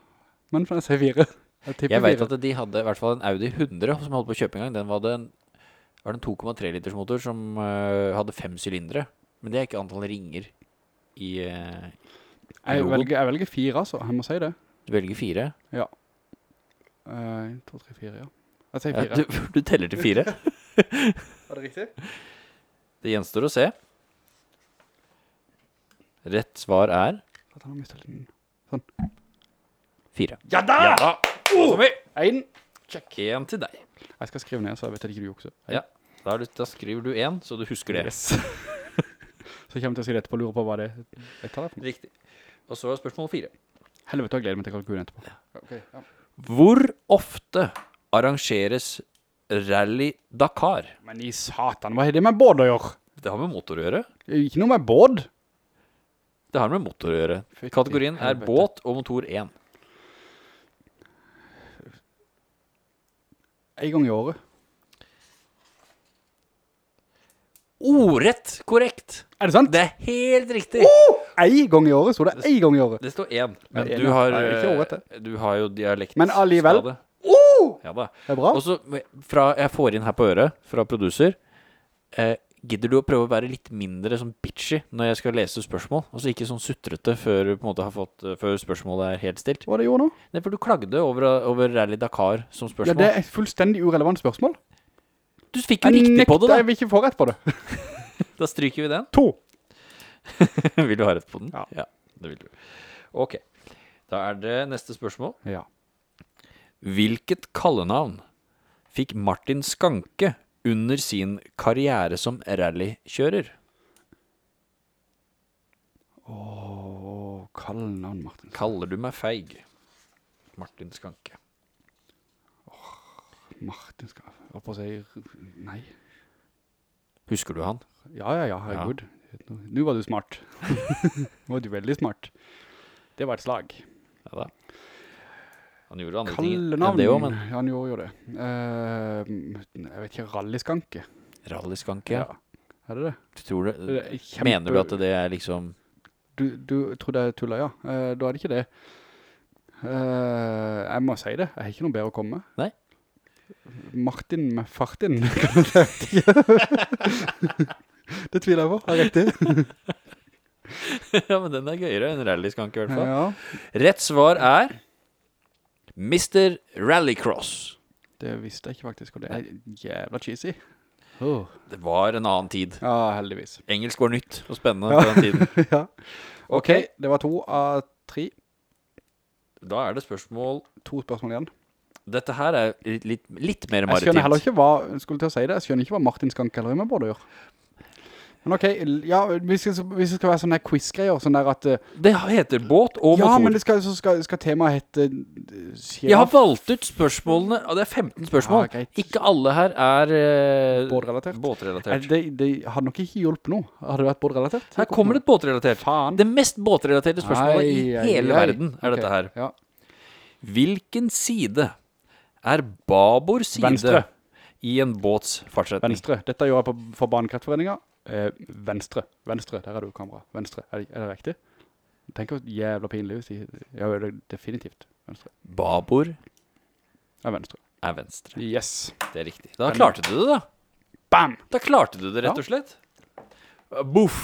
Speaker 1: Men for jeg sier fire. Jeg tipper
Speaker 2: Jeg vet
Speaker 1: fire.
Speaker 2: at de hadde i hvert fall en Audi 100 som holdt på å kjøpe en gang. Den var det en, var det en 2,3 liters motor som øh, hadde fem sylindere. Men det er ikke antall ringer i øh,
Speaker 1: Jeg
Speaker 2: logo.
Speaker 1: velger, jeg velger fire, altså. Jeg må si det.
Speaker 2: Du velger fire.
Speaker 1: Eh, En, to, tre, fire, ja. Jeg sier
Speaker 2: Ja,
Speaker 1: fire.
Speaker 2: du, du teller til fire.
Speaker 1: Er det riktig?
Speaker 2: Det gjenstår å se. Rett svar er
Speaker 1: At han har mistet den.
Speaker 2: fire.
Speaker 1: Ja da!
Speaker 2: Ja da!
Speaker 1: Oh! En.
Speaker 2: Én til deg.
Speaker 1: Jeg skal skrive ned, så jeg vet at ikke du jukser. En.
Speaker 2: Ja. Da, er du, da skriver du én, så du husker det.
Speaker 1: Yes. så kommer jeg til å si det etterpå og lure på hva det er. Jeg tar det for meg.
Speaker 2: Riktig. Og så er spørsmål fire.
Speaker 1: Helvete, jeg gleder meg til kalkunen etterpå. Okay, ja.
Speaker 2: Hvor ofte arrangeres Rally Dakar?
Speaker 1: Men i satan, hva har det med båt å gjøre?
Speaker 2: Det har med motor å gjøre.
Speaker 1: Ikke noe med båt.
Speaker 2: Det har med motor å gjøre.
Speaker 1: Fytti
Speaker 2: Kategorien er
Speaker 1: helvete.
Speaker 2: båt og motor 1.
Speaker 1: En gang i året.
Speaker 2: Ordrett korrekt!
Speaker 1: Er det sant?
Speaker 2: Det er helt riktig!
Speaker 1: En gang i året, sto det. En gang i året.
Speaker 2: Det står én, men
Speaker 1: Nei, én,
Speaker 2: du
Speaker 1: ja.
Speaker 2: har,
Speaker 1: Nei, ikke året,
Speaker 2: eh, du har jo dialektskade.
Speaker 1: Men allivel.
Speaker 2: Ja da.
Speaker 1: Det er bra.
Speaker 2: Og så eh, fra jeg får inn her på øret fra producer eh, Gidder du å prøve å være litt mindre sånn bitchy når jeg skal lese spørsmål? Altså ikke sånn sutrete før, du på en måte har fått, eh, før spørsmålet er helt stilt?
Speaker 1: Hva var det jeg gjorde nå?
Speaker 2: Nei, for du klagde over, over Rally Dakar som
Speaker 1: Ja, det
Speaker 2: spørsmål.
Speaker 1: er et fullstendig urelevant spørsmål.
Speaker 2: Du fikk jo riktig på det,
Speaker 1: Jeg vil ikke få rett på det.
Speaker 2: da! Da stryker vi den.
Speaker 1: To.
Speaker 2: vil du ha rett på den?
Speaker 1: Ja.
Speaker 2: det vil du. Ok. Da er det neste spørsmål.
Speaker 1: Ja.
Speaker 2: Hvilket kallenavn fikk Martin Skanke under sin karriere som rallykjører?
Speaker 1: Åh, kall navn, Martin.
Speaker 2: Kaller du meg feig? Martin Skanke.
Speaker 1: Martin skal jeg holdt på å si Nei.
Speaker 2: Husker du han?
Speaker 1: Ja, ja, ja, herregud. Nå- Nå var du smart. Nå var du veldig smart. Det var et slag.
Speaker 2: Ja da. Han gjorde andre ting
Speaker 1: Kallenavn.
Speaker 2: enn det òg, men
Speaker 1: Ja, han gjorde jo det. Eh, jeg vet ikke, rallyskanke.
Speaker 2: rallyskanke ja.
Speaker 1: Er det det?
Speaker 2: Du tror det,
Speaker 1: Det er kjempe-
Speaker 2: Mener du at det er liksom
Speaker 1: Du, du tror det er tulla, ja. Eh, da er det ikke det. Eh, jeg må si det. Jeg har ikke noe bedre å komme. med.
Speaker 2: Nei.
Speaker 1: Martin med fartin. det vet jeg ikke. Det tviler jeg på. Er riktig.
Speaker 2: Ja, men den er gøyere enn rallyskanke, i hvert fall.
Speaker 1: Ja,
Speaker 2: Rett svar er Mr. Rallycross.
Speaker 1: det visste jeg ikke faktisk. Og det er jævla cheesy. Åh.
Speaker 2: Det var en annen tid.
Speaker 1: Ja, heldigvis.
Speaker 2: Engelsk var nytt og spennende på den tiden.
Speaker 1: ja.
Speaker 2: Ok.
Speaker 1: Ok, det var to av tre.
Speaker 2: Da er det spørsmål
Speaker 1: To spørsmål igjen.
Speaker 2: Dette her er litt, litt, litt mer
Speaker 1: Jeg skjønner heller
Speaker 2: maritimt.
Speaker 1: ikke hva, skulle til å si det, jeg skjønner ikke hva Martin Skank eller med både gjør. Men ok, l- ja, hvis det skal, hvis det skal være sånne her quiz-greier, sånn der at... eh,
Speaker 2: Det heter båt og
Speaker 1: ja, men
Speaker 2: motor.
Speaker 1: det skal, så skal, skal temaet hette... eh,
Speaker 2: Jeg har
Speaker 1: sjiraff,
Speaker 2: valgt ut spørsmålene, og det er 15 spørsmål.
Speaker 1: Ja, greit.
Speaker 2: ikke alle her er eh,
Speaker 1: Båtrelatert. Eh,
Speaker 2: båtrelatert.
Speaker 1: Det, det hadde nok ikke hjulpet noe. Hadde det vært båtrelatert?
Speaker 2: Her kommer det et båtrelatert.
Speaker 1: Faen.
Speaker 2: Det mest båtrelaterte spørsmålet i
Speaker 1: Ai, ai,
Speaker 2: hele
Speaker 1: ai.
Speaker 2: verden
Speaker 1: Ok,
Speaker 2: er dette her.
Speaker 1: Ja.
Speaker 2: Hvilken side er babord side
Speaker 1: Venstre.
Speaker 2: i en båts fartsretning?
Speaker 1: Venstre. Dette gjør jeg på, for Banekreftforeninga. Eh, venstre. Venstre. Der er du kamera. Venstre. Er, det- er det riktig? Tenk hvor jævla pinlig hvis de... Ja, det er definitivt. Venstre.
Speaker 2: Babord
Speaker 1: Ja, venstre.
Speaker 2: er venstre.
Speaker 1: Yes.
Speaker 2: Det er riktig. Da klarte du det, da.
Speaker 1: Bam!
Speaker 2: Da klarte du det,
Speaker 1: Ja.
Speaker 2: rett og slett. Boff.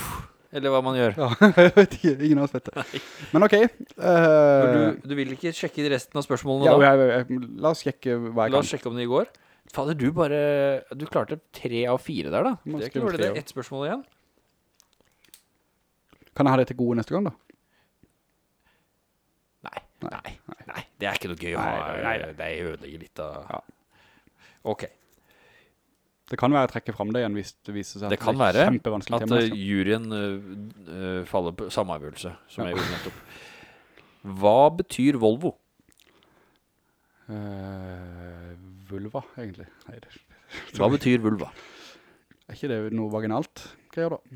Speaker 2: Eller hva man gjør.
Speaker 1: Ja, jeg vet ikke. Ingen av oss vet det. Men ok.
Speaker 2: For
Speaker 1: eh,
Speaker 2: Du, du vil ikke sjekke resten av
Speaker 1: ja,
Speaker 2: spørsmålene da?
Speaker 1: jeg, jeg, jeg, la oss sjekke hva jeg
Speaker 2: La oss
Speaker 1: kan.
Speaker 2: sjekke om det i går. Fader, du bare Du klarte tre av fire der, da.
Speaker 1: Må
Speaker 2: Det
Speaker 1: skrive
Speaker 2: gjorde
Speaker 1: tre
Speaker 2: det. Ett spørsmål igjen.
Speaker 1: Kan jeg ha det til gode neste gang, da?
Speaker 2: Nei. Nei. Nei. Det er ikke noe gøy å ha.
Speaker 1: Nei, nei, nei.
Speaker 2: Det ødelegger litt av
Speaker 1: Ja.
Speaker 2: OK.
Speaker 1: Det kan være jeg trekker fram det igjen hvis det viser seg
Speaker 2: Det kan
Speaker 1: er
Speaker 2: være
Speaker 1: kjempevanskelig
Speaker 2: At
Speaker 1: tema.
Speaker 2: eh,
Speaker 1: neste gang.
Speaker 2: juryen eh, eh, faller på samme avgjørelse som jeg gjorde nettopp. Hva betyr Volvo?
Speaker 1: Eh, vulva, egentlig. Nei, det
Speaker 2: Hva betyr vulva?
Speaker 1: er ikke det noe vaginalt. Hva gjør da?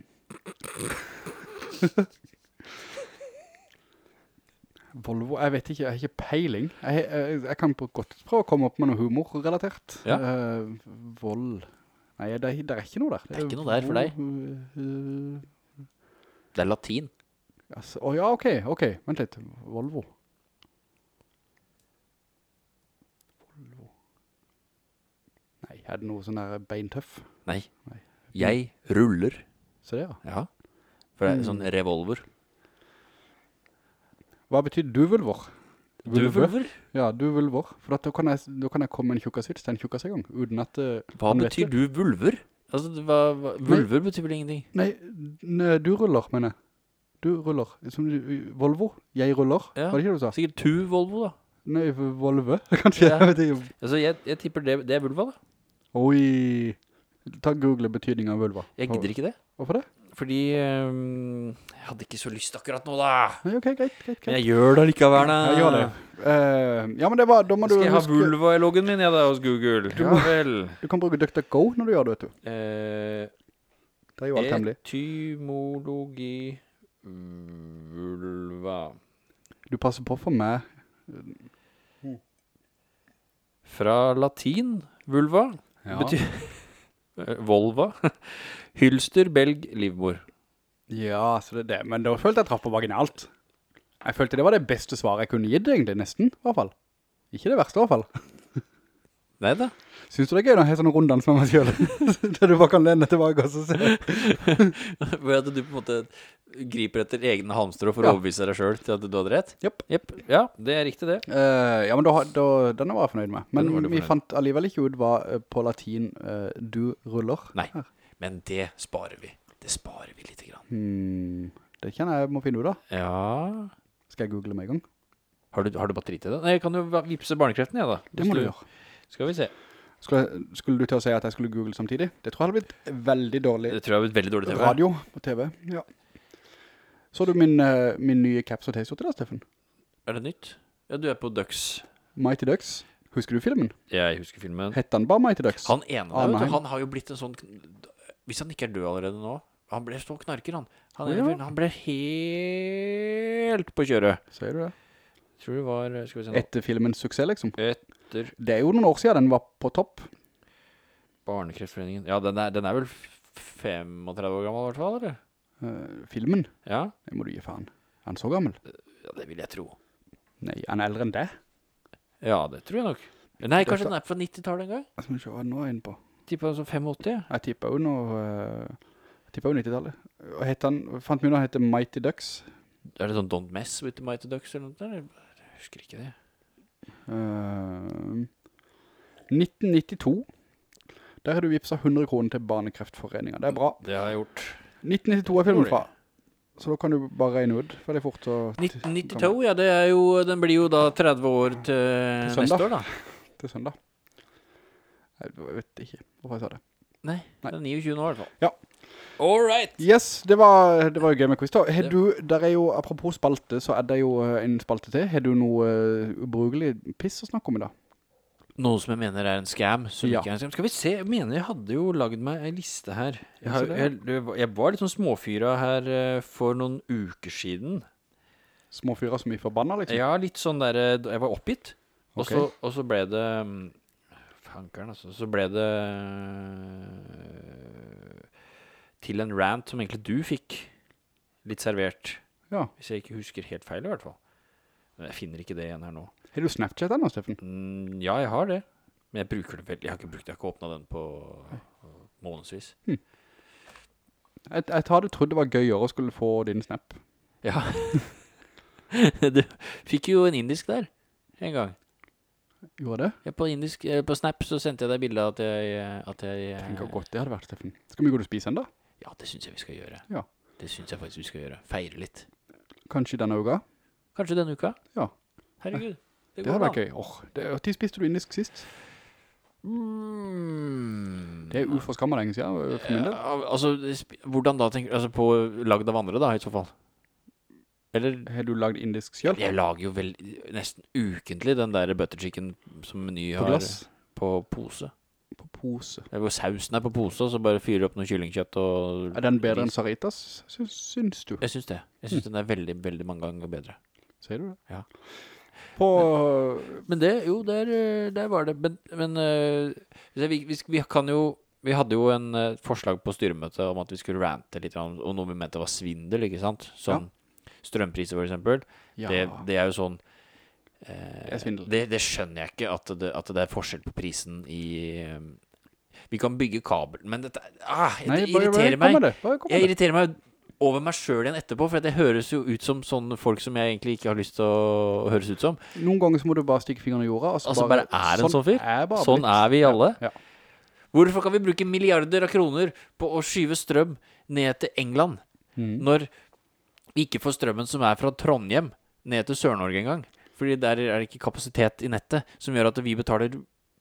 Speaker 1: Volvo, jeg vet ikke, jeg har ikke peiling. Jeg, jeg, jeg kan på godt prøve å komme opp med noe humorrelatert.
Speaker 2: Ja.
Speaker 1: Eh, vold. Nei, det, er- det er ikke noe der.
Speaker 2: Det er ikke noe der for deg.
Speaker 1: Vo- eh,
Speaker 2: Det er latin.
Speaker 1: Altså, å ja, ok, ok. Vent litt. Volvo. Volvo. Nei, er det noe sånn der beintøff?
Speaker 2: Nei.
Speaker 1: Nei.
Speaker 2: Jeg ruller.
Speaker 1: Se det, ja.
Speaker 2: Ja. For det er en sånn revolver.
Speaker 1: Hva betyr duvulvor? Vulve?
Speaker 2: Duvulver?
Speaker 1: Ja, duvulvor. For at da, kan jeg, da kan jeg komme med en tjukkasvits til en tjukkassegang, uten at eh,
Speaker 2: Hva
Speaker 1: han vet
Speaker 2: betyr
Speaker 1: det.
Speaker 2: du vulver? Altså, det- hva, hva, vulver betyr vel ingenting?
Speaker 1: Nei, n- du ruller, mener jeg. Du ruller. Som du- Volvo, jeg ruller.
Speaker 2: Ja.
Speaker 1: Var det ikke det du sa?
Speaker 2: Sikkert tu Volvo, da.
Speaker 1: Nei, Volve, kanskje.
Speaker 2: Ja.
Speaker 1: Jeg vet ikke.
Speaker 2: Altså, jeg, jeg tipper det, det er vulva, da.
Speaker 1: Oi. Ta Google betydning av vulva.
Speaker 2: Jeg gidder ikke det.
Speaker 1: Hvorfor det?
Speaker 2: Fordi øhm, jeg hadde ikke så lyst akkurat nå, da.
Speaker 1: Nei, ok, greit, greit, greit.
Speaker 2: Men jeg gjør det likevel, da.
Speaker 1: Ja, gjør det. Eh, ja, men det var, da må
Speaker 2: Skal
Speaker 1: du
Speaker 2: jeg ha
Speaker 1: huske-
Speaker 2: vulva i loggen min, jeg, da, hos Google? Du
Speaker 1: Ja.
Speaker 2: må vel.
Speaker 1: Du kan bruke DuckDuckGo når du gjør det, vet du.
Speaker 2: Eh,
Speaker 1: Det er jo alt hemmelig.
Speaker 2: Etymologi vulva.
Speaker 1: Du passer på for meg.
Speaker 2: Fra latin vulva betyr eh, Volva. Hylster, belg, livmor.
Speaker 1: Ja, så det er det. Men da følte jeg traff på vaginalt. Jeg følte det var det beste svaret jeg kunne gitt, egentlig, nesten, i hvert fall. Ikke det verste, i hvert fall.
Speaker 2: Nei da.
Speaker 1: Synes du det er gøy når jeg har sånne runddans med meg selv? Der du bare kan lene tilbake og så se.
Speaker 2: Ved at du på en måte griper etter egne halmstrå for
Speaker 1: Ja.
Speaker 2: å overbevise deg sjøl til at du hadde rett?
Speaker 1: Jepp.
Speaker 2: Jepp. Ja, det er riktig, det.
Speaker 1: Eh, ja, men da, da, denne var jeg fornøyd med. Men
Speaker 2: Den var du
Speaker 1: vi
Speaker 2: fornøyd.
Speaker 1: fant alligevel ikke ut hva eh, på latin eh, du ruller.
Speaker 2: Nei. Men det sparer vi. Det sparer vi lite grann.
Speaker 1: Hmm, det kjenner jeg jeg må finne ut da.
Speaker 2: Ja
Speaker 1: Skal jeg google med en gang?
Speaker 2: Har du, har du batteri til det? Nei, jeg kan jo va- vippse barnekreften, jeg, da.
Speaker 1: Det må du gjøre.
Speaker 2: Skal vi se.
Speaker 1: Skulle, skulle du til å si at jeg skulle google samtidig? Det tror jeg hadde blitt veldig dårlig
Speaker 2: Det tror jeg er et veldig dårlig TV.
Speaker 1: radio på TV. Ja. Så du min, eh, min nye caps og t-skjorte da, Steffen?
Speaker 2: Er det nytt? Ja, du er på Ducks.
Speaker 1: Mighty Ducks. Husker du filmen?
Speaker 2: Jeg husker filmen.
Speaker 1: Hette han bare Mighty Ducks?
Speaker 2: Han ene
Speaker 1: Ah,
Speaker 2: der, vet
Speaker 1: nei.
Speaker 2: du, han har jo blitt en sånn kn- Hvis han ikke er død allerede nå Han ble så knarker, han. Han,
Speaker 1: Å,
Speaker 2: ene
Speaker 1: ja.
Speaker 2: fyren, han ble helt på kjøret.
Speaker 1: Sier du det?
Speaker 2: Tror det var eh, Skal vi se nå.
Speaker 1: Etter filmens suksess, liksom.
Speaker 2: Etter
Speaker 1: Det er jo noen år siden den var på topp.
Speaker 2: Barnekreftforeningen Ja, den er, den er vel f- 35 år gammel, i hvert fall? eller?
Speaker 1: Eh, filmen.
Speaker 2: Ja?
Speaker 1: Det må du gi faen. Er han så gammel?
Speaker 2: ja, det vil jeg tro.
Speaker 1: Nei, han er eldre enn det.
Speaker 2: Ja, det tror jeg nok. Nei,
Speaker 1: Dette-
Speaker 2: kanskje den er fra 90-tallet en gang?
Speaker 1: Jeg skal vi se hva nå er jeg inne på.
Speaker 2: Tippa den som 85?
Speaker 1: Jeg tipper jo nå... eh, jeg tipper jo 90-tallet. Og hette han... Fant vi nå han heter Mighty Ducks?
Speaker 2: Er det sånn Don't Mess With The Mighty Ducks eller noe sånt? eller? Jeg husker ikke det.
Speaker 1: Eh, 1992. Der har du vipsa 100 kroner til Barnekreftforeningen. Det er bra.
Speaker 2: Det har jeg gjort.
Speaker 1: 1992 er filmen fra. Så da kan du bare regne ut veldig fort. Og
Speaker 2: 1992, ja, det er jo, den blir jo da 30 år til
Speaker 1: Til søndag.
Speaker 2: neste år, da.
Speaker 1: til søndag. Jeg vet ikke hvorfor jeg sa det.
Speaker 2: Nei,
Speaker 1: Nei.
Speaker 2: det er 29 nå i hvert fall.
Speaker 1: Ja.
Speaker 2: All right!
Speaker 1: Yes, det var, det var jo gøy med quiz da. Har
Speaker 2: Det-
Speaker 1: du, der er jo, apropos spalte, så er det jo eh, en spalte til. Har du noe eh, ubrukelig piss å snakke om i dag?
Speaker 2: Noe som jeg mener er en scam, som
Speaker 1: Ja.
Speaker 2: ikke er en scam. Skal vi se, jeg mener jeg hadde jo lagd meg ei liste her. Jeg,
Speaker 1: Ja,
Speaker 2: har,
Speaker 1: så det.
Speaker 2: jeg, det var- jeg var litt sånn småfyra her eh, for noen uker siden.
Speaker 1: Små fyrer som er forbanna, liksom.
Speaker 2: Ja, litt sånn der eh, Jeg var oppgitt. Og
Speaker 1: Ok.
Speaker 2: så, og så ble det mm, Fankeren, altså. Så ble det eh, til en rant som egentlig du fikk litt servert.
Speaker 1: Ja.
Speaker 2: Hvis jeg ikke husker helt feil, i hvert fall. Men jeg finner ikke det igjen her nå.
Speaker 1: Har du Snapchat ennå, Steffen?
Speaker 2: Mm, ja, jeg har det. Men jeg bruker det veldig. Jeg har ikke brukt det. Jeg har ikke åpna den på eh, månedsvis.
Speaker 1: Jeg, jeg hadde trodd det var gøyere å skulle få din Snap.
Speaker 2: Ja. du fikk jo en indisk der en gang.
Speaker 1: Gjorde det?
Speaker 2: Ja, på, indisk, eh, på Snap så sendte jeg deg bilde av at jeg, eh, at jeg eh,
Speaker 1: Tenk hvor godt det hadde vært, Steffen. Skal vi gå til å spise ennå?
Speaker 2: Ja, det syns jeg vi skal gjøre.
Speaker 1: Ja.
Speaker 2: Det syns jeg faktisk vi skal gjøre. Feire litt.
Speaker 1: Kanskje denne uka?
Speaker 2: Kanskje denne uka?
Speaker 1: Ja.
Speaker 2: Herregud.
Speaker 1: Det,
Speaker 2: går
Speaker 1: hadde vært
Speaker 2: da.
Speaker 1: gøy. Åh, det, og tid spiste du indisk sist?
Speaker 2: Mm.
Speaker 1: Det er uforskammet lenge siden, øh, for min del.
Speaker 2: Ja, altså, sp- hvordan da tenker Altså, på lagd av andre, da, i så fall? Eller
Speaker 1: Har du lagd indisk selv?
Speaker 2: Jeg lager jo vel nesten ukentlig den der butter chicken som Meny
Speaker 1: På
Speaker 2: har
Speaker 1: glass?
Speaker 2: på pose.
Speaker 1: På pose.
Speaker 2: Det er Hvor sausen er på pose, og så bare fyrer opp noe kyllingkjøtt og
Speaker 1: Er den bedre enn Mm. Saritas, syns, syns du?
Speaker 2: Jeg syns det. Jeg syns den er veldig, veldig mange ganger bedre.
Speaker 1: Sier du det?
Speaker 2: Ja.
Speaker 1: På,
Speaker 2: Men det, jo, der, eh, der var det. Men, men eh, hvis jeg, vi, vi, vi kan jo Vi hadde jo en eh, forslag på styremøtet om at vi skulle rante litt om, om noe vi mente var svindel, ikke sant? Sånn strømpriser, for eksempel.
Speaker 1: ja.
Speaker 2: Det, det er jo sånn
Speaker 1: Det er svindel.
Speaker 2: Det, det skjønner jeg ikke, at det, at det er forskjell på prisen i eh, Vi kan bygge kabel, men dette ah,
Speaker 1: Nei,
Speaker 2: Det
Speaker 1: bare- bare
Speaker 2: irriterer
Speaker 1: kom med
Speaker 2: meg.
Speaker 1: det, bare kom med
Speaker 2: Jeg
Speaker 1: det.
Speaker 2: irriterer meg over meg sjøl igjen etterpå, for at det høres jo ut som sånne folk som jeg egentlig ikke har lyst til å høres ut som.
Speaker 1: Noen ganger så må du bare stikke fingeren i jorda, og så
Speaker 2: Altså bare er en sånn fyr.
Speaker 1: er bare
Speaker 2: Sånn
Speaker 1: blitt.
Speaker 2: er vi alle.
Speaker 1: Ja.
Speaker 2: Hvorfor kan vi bruke milliarder av kroner på å skyve strøm ned til England,
Speaker 1: Mhm.
Speaker 2: når vi ikke får strømmen som er fra Trondheim ned til Sør-Norge engang? Fordi der er det ikke kapasitet i nettet som gjør at vi betaler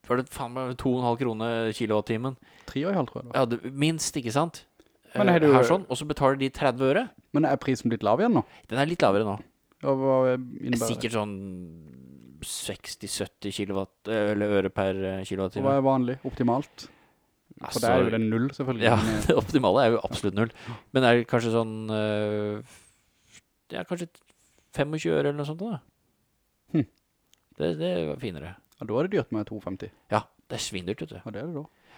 Speaker 2: var det faen meg 2,5 kroner kilowattimen?
Speaker 1: Tre og en halv, tror jeg. det var.
Speaker 2: Ja, det, minst, ikke sant?
Speaker 1: Men
Speaker 2: Eh,
Speaker 1: har du-
Speaker 2: Her sånn, Og så betaler de 30 øre.
Speaker 1: Men er prisen blitt lav igjen nå?
Speaker 2: Den er litt lavere nå.
Speaker 1: Og hva innebærer det?
Speaker 2: Sikkert sånn 60-70 kilowatt, eller øre per
Speaker 1: Og
Speaker 2: eh,
Speaker 1: Hva
Speaker 2: kilowattime.
Speaker 1: er vanlig, optimalt? For der er jo
Speaker 2: Altså,
Speaker 1: det null, selvfølgelig.
Speaker 2: Ja,
Speaker 1: men, eh,
Speaker 2: det optimale er jo absolutt null. Men er det kanskje sånn eh, f- Ja, kanskje 25 øre eller noe sånt da.
Speaker 1: Hm.
Speaker 2: Det, det var finere.
Speaker 1: ja, da er det dyrt med 2,50.
Speaker 2: Ja, det er svindyrt, vet du.
Speaker 1: Ja, det er det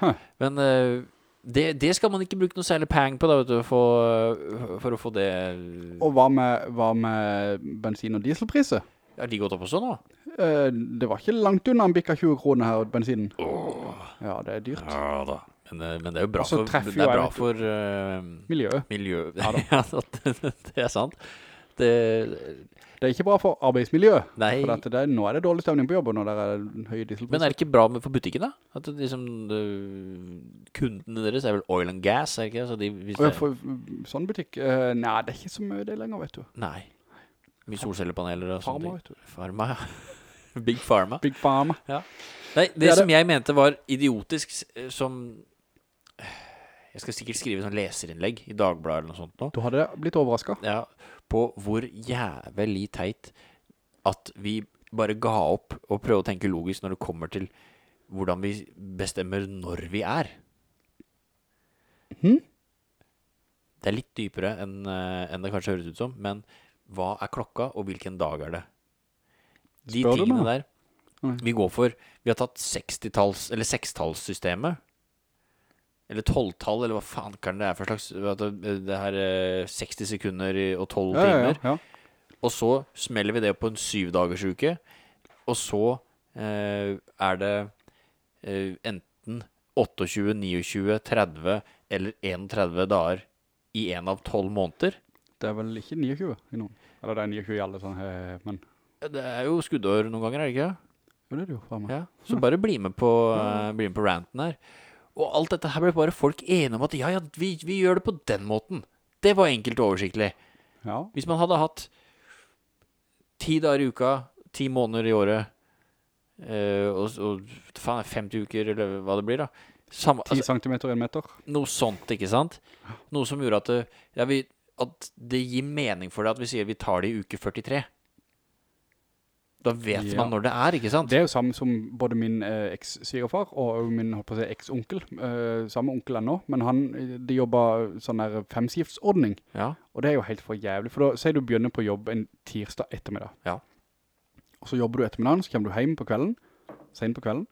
Speaker 1: da.
Speaker 2: Men eh, det, det skal man ikke bruke noe særlig pang på da, vet du, for, for å få det
Speaker 1: Og hva med, hva med bensin- og dieselpriser?
Speaker 2: Har de gått opp også nå?
Speaker 1: Eh, det var ikke langt unna han bikka 20 kroner her, bensinen. Ja, det er dyrt.
Speaker 2: Ja da. Men, eh, men det er jo bra
Speaker 1: Og så
Speaker 2: for,
Speaker 1: treffer
Speaker 2: det
Speaker 1: Altså, jo
Speaker 2: er
Speaker 1: jeg,
Speaker 2: bra
Speaker 1: vet du.
Speaker 2: for eh,
Speaker 1: Miljøet.
Speaker 2: miljøet.
Speaker 1: Ja da.
Speaker 2: Ja, det, det er sant. Det,
Speaker 1: Det er ikke bra for arbeidsmiljøet.
Speaker 2: nei,
Speaker 1: For at det, er- nå er det dårlig stemning på jobben når det er høye
Speaker 2: men
Speaker 1: dieselpriser.
Speaker 2: er det ikke bra med, for butikken, da? At det, liksom, det, kundene deres er vel oil and gas, er det ikke det? Så de, hvis
Speaker 1: Å, ja,
Speaker 2: det-
Speaker 1: for, sånn butikk eh, Nei, det er ikke så mye det lenger, vet du.
Speaker 2: Nei. Mye solcellepaneler og
Speaker 1: Farma,
Speaker 2: sånne ting.
Speaker 1: vet du.
Speaker 2: Pharma, ja. Big Pharma.
Speaker 1: Big Pharma.
Speaker 2: Nei, det,
Speaker 1: Det er det.
Speaker 2: som jeg mente var idiotisk, s- eh, som eh, Jeg skal sikkert skrive sånn leserinnlegg i Dagbladet eller noe sånt nå.
Speaker 1: Du hadde blitt overraska.
Speaker 2: Ja, på hvor jævlig teit at vi bare ga opp og prøvde å tenke logisk når det kommer til hvordan vi bestemmer når vi er.
Speaker 1: Mhm.
Speaker 2: Det er litt dypere enn eh, enn det kanskje høres ut som, men hva er klokka, og hvilken dag er det? De
Speaker 1: Spør du
Speaker 2: tingene
Speaker 1: meg?
Speaker 2: der
Speaker 1: Nei.
Speaker 2: vi går for Vi har tatt 60-talls, eller 6-tallssystemet. Eller 12-tall, eller hva faen kan det er for slags at Det det her eh, 60 sekunder i- og 12
Speaker 1: Ja, ja,
Speaker 2: timer.
Speaker 1: ja.
Speaker 2: Og så smeller vi det på en syvdagersuke. Og så eh, er det eh, enten 28, 29, 30 eller 31 dager i én av tolv måneder.
Speaker 1: Det er vel ikke 29 i noen. Eller det er 29 i alle sånne, eh, men
Speaker 2: Ja, Det er jo skuddår noen ganger, er det ikke?
Speaker 1: Jo, det er det jo. Faen meg.
Speaker 2: Ja. Så bare bli med på, eh, bli med på ranten her. Og alt dette her ble bare folk enige om at ja, ja, vi, vi gjør det på den måten. Det var enkelt og oversiktlig.
Speaker 1: Ja.
Speaker 2: Hvis man hadde hatt ti dager i uka, ti måneder i året, eh, og, og faen, 50 uker, eller hva det blir, da. Samme,
Speaker 1: 10
Speaker 2: altså,
Speaker 1: centimeter, 1 meter.
Speaker 2: noe sånt, ikke sant? Noe som gjorde at det, ja, vi, at det gir mening for det at vi sier vi tar det i uke 43. Da vet
Speaker 1: Ja.
Speaker 2: man når det er, ikke sant?
Speaker 1: Det er jo samme som både min eh, eks-svigerfar og også min holdt på å si, eks-onkel. Eh, samme onkel ennå, men han, eh, de jobber sånn der femskiftsordning.
Speaker 2: Ja.
Speaker 1: Og det er jo helt for jævlig, for da sier du begynner på jobb en tirsdag ettermiddag.
Speaker 2: Ja.
Speaker 1: Og så jobber du ettermiddagen, så kommer du hjem på kvelden, sent på kvelden,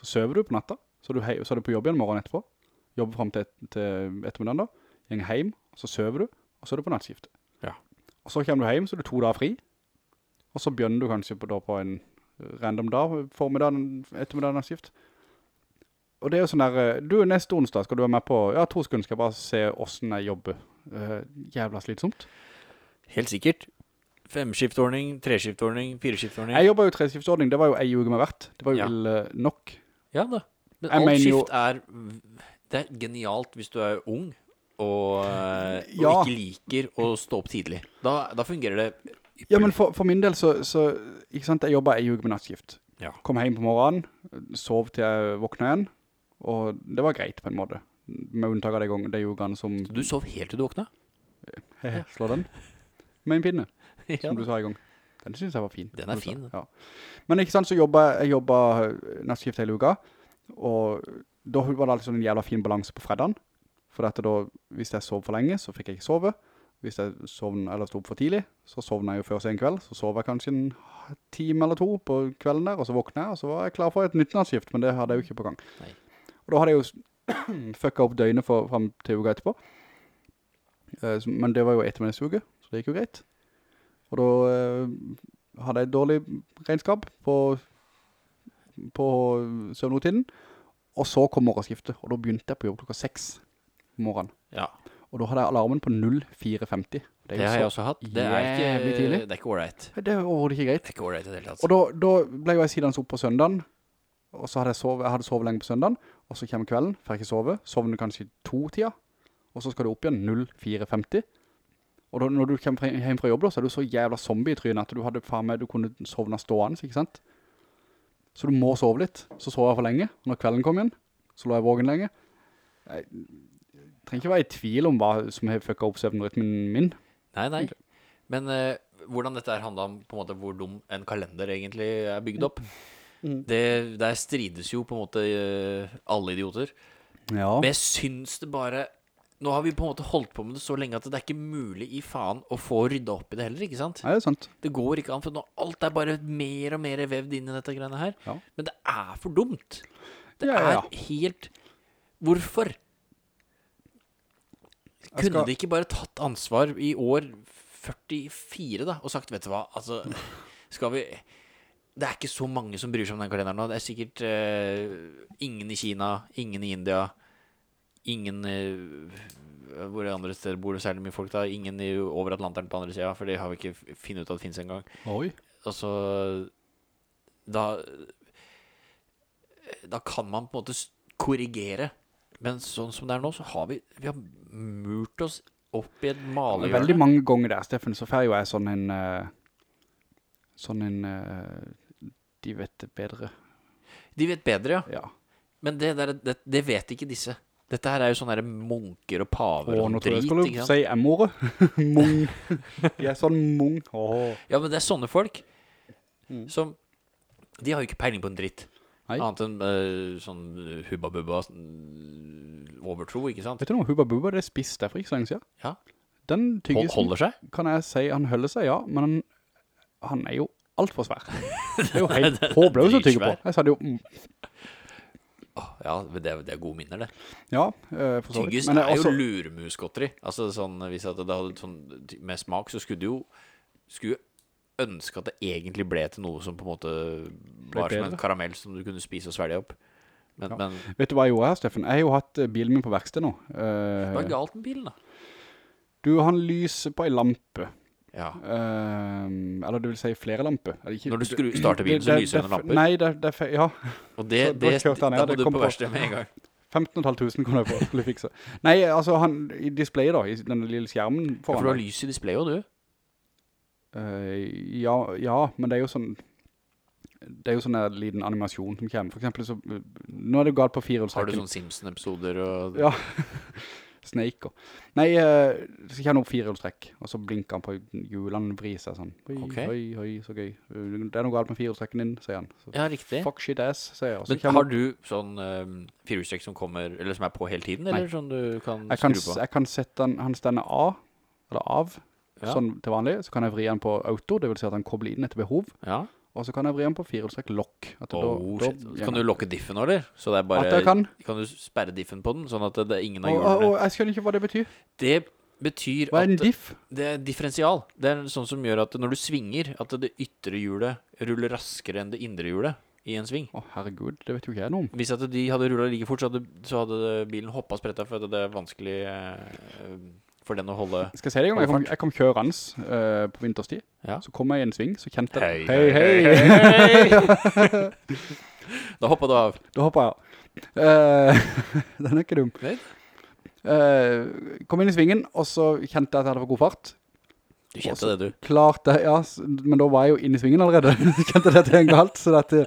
Speaker 1: så søver du på natta, så, er du hei, så er du på jobb igjen morgenen etterpå, jobber frem til, et, til ettermiddagen da, gjeng hjem, så søver du, og så er du på nattskiftet.
Speaker 2: Ja.
Speaker 1: Og så kommer du hjem, så er du to dager fri, og så begynner du kanskje på, da, på en random dag, formiddagen, ettermiddagen nattskift. Og det er jo sånn der, eh, du, neste onsdag skal du være med på, ja, to sekunder skal jeg bare se hvordan jeg jobber. Eh, jævla slitsomt.
Speaker 2: Helt sikkert. Femskiftordning, treskiftordning, fireskiftordning.
Speaker 1: Jeg jobber jo treskiftsordning, det var jo ei uke med hvert. Det var jo
Speaker 2: Ja.
Speaker 1: ille nok.
Speaker 2: Ja da. Men
Speaker 1: Jeg
Speaker 2: alt
Speaker 1: mener jo-
Speaker 2: skift er Det er genialt hvis du er ung og, eh,
Speaker 1: Ja.
Speaker 2: og ikke liker å stå opp tidlig. Da, da fungerer det
Speaker 1: Ja, men for, for min del så, så ikke sant, jeg jobba ei uke med nattskift.
Speaker 2: Ja.
Speaker 1: Kom hjem på morgenen, sov til jeg våkna igjen, og det var greit på en måte. Med unntak av de gangene de ukene som
Speaker 2: Du sov helt til du våkna.
Speaker 1: slår den med en pinne,
Speaker 2: Ja.
Speaker 1: som du sa en gang. Den syns jeg var fin.
Speaker 2: Den er fin, den.
Speaker 1: Ja. Men ikke sant, så jobba jeg jobba nattskift hele uka, og da var det alltid sånn en jævla fin balanse på fredagen. For dette da, hvis jeg sov for lenge, så fikk jeg ikke sove. Hvis jeg sovn, eller stod opp for tidlig, så sovna jeg jo før sen kveld. Så sov jeg kanskje en time eller to på kvelden der, og så våkna jeg, og så var jeg klar for et nytt nattskift, men det hadde jeg jo ikke på gang.
Speaker 2: Nei.
Speaker 1: Og da hadde jeg jo s- fucka opp døgnet for, frem til uka etterpå. Eh, så- Men det var jo ettermiddagsuke, så det gikk jo greit. Og da eh, hadde jeg dårlig regnskap på, på søvnrutinen. Og så kom morgenskiftet, og da begynte jeg på jobb klokka seks om morgenen.
Speaker 2: Ja.
Speaker 1: Og da hadde jeg alarmen på 04.50.
Speaker 2: Det har jeg også hatt. Det er
Speaker 1: jævlig
Speaker 2: ikke
Speaker 1: tidlig.
Speaker 2: Det er ikke ålreit.
Speaker 1: Det er overhodet ikke greit.
Speaker 2: Det er ikke ålreit i det hele tatt.
Speaker 1: Og da, da ble jo jeg sidans opp på søndagen, og så hadde jeg sovet, jeg hadde sovet lenge på søndagen, og så kommer kvelden, får jeg ikke sove, sovner kanskje i to-tida, og så skal du opp igjen 04.50. Og da, når du kommer fra- hjem fra jobb da, så er du så jævla zombie i trynet at du hadde faen meg, du kunne sovne stående, ikke sant? Så du må sove litt. Så sov jeg for lenge, og når kvelden kom igjen, så lå jeg vågen lenge. Jeg trenger ikke være i tvil om hva som har fucka opp søvnrytmen min.
Speaker 2: Nei, nei. Men eh, hvordan dette her handla om på en måte hvor dum en kalender egentlig er bygd opp,
Speaker 1: Mhm.
Speaker 2: det, der strides jo på en måte eh, alle idioter.
Speaker 1: Ja.
Speaker 2: Men jeg syns det bare Nå har vi på en måte holdt på med det så lenge at det er ikke mulig i faen å få rydda opp i det heller, ikke sant?
Speaker 1: Nei, det er sant.
Speaker 2: Det går ikke an, for nå alt er bare mer og mer vevd inn i dette greiene her.
Speaker 1: Ja.
Speaker 2: Men det er for dumt. Det
Speaker 1: Ja, ja, ja.
Speaker 2: er helt Hvorfor? Kunne
Speaker 1: skal-
Speaker 2: de ikke bare tatt ansvar i år 44, da, og sagt, vet du hva, altså Skal vi Det er ikke så mange som bryr seg om den kalenderen nå. Det er sikkert eh, ingen i Kina, ingen i India, ingen eh, hvor andre steder bor det særlig mye folk, da. Ingen i, over Atlanteren på andre sida, for det har vi ikke f- funnet ut at fins engang.
Speaker 1: Oi.
Speaker 2: Altså Da Da kan man på en måte s- korrigere. Men sånn som det er nå, så har vi Vi har murt oss opp i et
Speaker 1: Veldig
Speaker 2: malehjørne.
Speaker 1: mange ganger der, Steffen, så får jo jeg sånn en eh, Sånn en eh, De vet det bedre.
Speaker 2: De vet bedre, ja.
Speaker 1: Ja.
Speaker 2: Men det, der, det, det vet ikke disse. Dette her er jo sånne der munker og paver
Speaker 1: Å,
Speaker 2: og
Speaker 1: nå tror jeg
Speaker 2: drit.
Speaker 1: jeg skulle
Speaker 2: Ikke sant?
Speaker 1: si M-ordet. Mung. De er sånn mung. Åh.
Speaker 2: Ja, men det er sånne folk
Speaker 1: Mm.
Speaker 2: som De har jo ikke peiling på en dritt.
Speaker 1: Nei.
Speaker 2: Annet enn eh, sånn hubba-bubba-overtro, ikke sant?
Speaker 1: Vet du noe? Hubba Bubba, det spiste jeg for ikke så lenge siden.
Speaker 2: Ja.
Speaker 1: Den
Speaker 2: Hol-
Speaker 1: tyggisen
Speaker 2: Holder seg?
Speaker 1: kan jeg si han holder seg, ja, men han, han er jo alt for svær. Det er jo helt håpløs å tygge på.
Speaker 2: dritsvær.
Speaker 1: Jeg sa det jo, mm,
Speaker 2: Åh, ja, men det, er- det er gode minner, det.
Speaker 1: ja, eh, for så vidt.
Speaker 2: Tyggis
Speaker 1: Men
Speaker 2: er,
Speaker 1: det er også,
Speaker 2: jo luremusgodteri. Altså sånn, hvis at det hadde sånn ty- med smak, så skulle du jo skulle jo ønske at det egentlig ble til noe som på en måte var som en
Speaker 1: bedre.
Speaker 2: karamell som du kunne spise og svelge opp. Men,
Speaker 1: Ja.
Speaker 2: men
Speaker 1: vet du hva jeg gjorde her, Steffen? Jeg har jo hatt eh, bilen min på verksted nå.
Speaker 2: hva er
Speaker 1: Eh,
Speaker 2: galt med bilen, da?
Speaker 1: du, han lyser på en lampe.
Speaker 2: Ja.
Speaker 1: Eh, eller det vil si flere lamper. Eller ikke-
Speaker 2: Når du skru, starter bilen, så
Speaker 1: Det-
Speaker 2: lyser
Speaker 1: det-
Speaker 2: den lamper.
Speaker 1: Nei, det, det, ja,
Speaker 2: Og det,
Speaker 1: så da
Speaker 2: det,
Speaker 1: kjørte han ned,
Speaker 2: da
Speaker 1: det
Speaker 2: må du
Speaker 1: kom
Speaker 2: på
Speaker 1: på.
Speaker 2: verkstedet med en gang.
Speaker 1: 15.500 kunne jeg få skulle fikse. Nei, altså han, i displayet da, i den lille skjermen
Speaker 2: Ja, for
Speaker 1: foran.
Speaker 2: du
Speaker 1: Ja,
Speaker 2: har lys i displayet òg, du.
Speaker 1: Eh, ja, ja, men det er jo sånn, det er jo sånn en liten animasjon som kommer. For eksempel så, eh, nå er det jo galt på
Speaker 2: Har du
Speaker 1: firehjulstrekken.
Speaker 2: sånn Simpson-episoder og
Speaker 1: Ja. Snake og... Nei, eh, så kommer det opp firehjulstrekk, og så blinker han på hjulene vrir seg sånn. Oi,
Speaker 2: Ok.
Speaker 1: oi, oi, så gøy. Eh, Det er noe galt med firehjulstrekken din, sier han. Så,
Speaker 2: Ja, riktig.
Speaker 1: Fuck shit ass, sier jeg. og så
Speaker 2: Men
Speaker 1: kommer-
Speaker 2: har du sånn um, firehjulstrekk som kommer Eller som er på hele tiden, eller som du kan
Speaker 1: jeg kan,
Speaker 2: skru på?
Speaker 1: jeg kan sette den, han stender A, eller av,
Speaker 2: Ja.
Speaker 1: sånn til vanlig, så kan jeg vri den på auto, det vil si at han kobler inn etter behov,
Speaker 2: Ja.
Speaker 1: og så kan jeg vri den på firehjulstrekk lokk. At det
Speaker 2: Oh,
Speaker 1: da-
Speaker 2: shit.
Speaker 1: da-
Speaker 2: Kan du lokke diffen nå, eller? Så det er bare
Speaker 1: At jeg kan?
Speaker 2: du sperre diffen på den, sånn at det, det er ingen
Speaker 1: Å,
Speaker 2: av
Speaker 1: å, å,
Speaker 2: hjulene
Speaker 1: jeg skjønner ikke hva det betyr.
Speaker 2: Det betyr
Speaker 1: Hva er en
Speaker 2: at
Speaker 1: diff?
Speaker 2: det er differensial. Det er sånn som gjør at når du svinger, at det ytre hjulet ruller raskere enn det indre hjulet i en sving.
Speaker 1: Å, herregud, det vet jo ikke jeg noe om.
Speaker 2: Hvis at de hadde rulla like fort, så hadde, så hadde bilen hoppa spretta, for at det er vanskelig eh, for den å holde
Speaker 1: Skal jeg si det en gang? Jeg kom, jeg kom kjørens eh, på vinterstid,
Speaker 2: Ja.
Speaker 1: så kom jeg i en sving, så kjente jeg...
Speaker 2: Da hoppa du av.
Speaker 1: Da hopper jeg. Eh, den er ikke dum.
Speaker 2: Nei.
Speaker 1: Eh, kom inn i svingen, og så kjente jeg at jeg hadde for god fart.
Speaker 2: Du kjente det, du.
Speaker 1: Klart det, ja, s- men da var jeg jo inne i svingen allerede. Kjente det til en galt, så dette,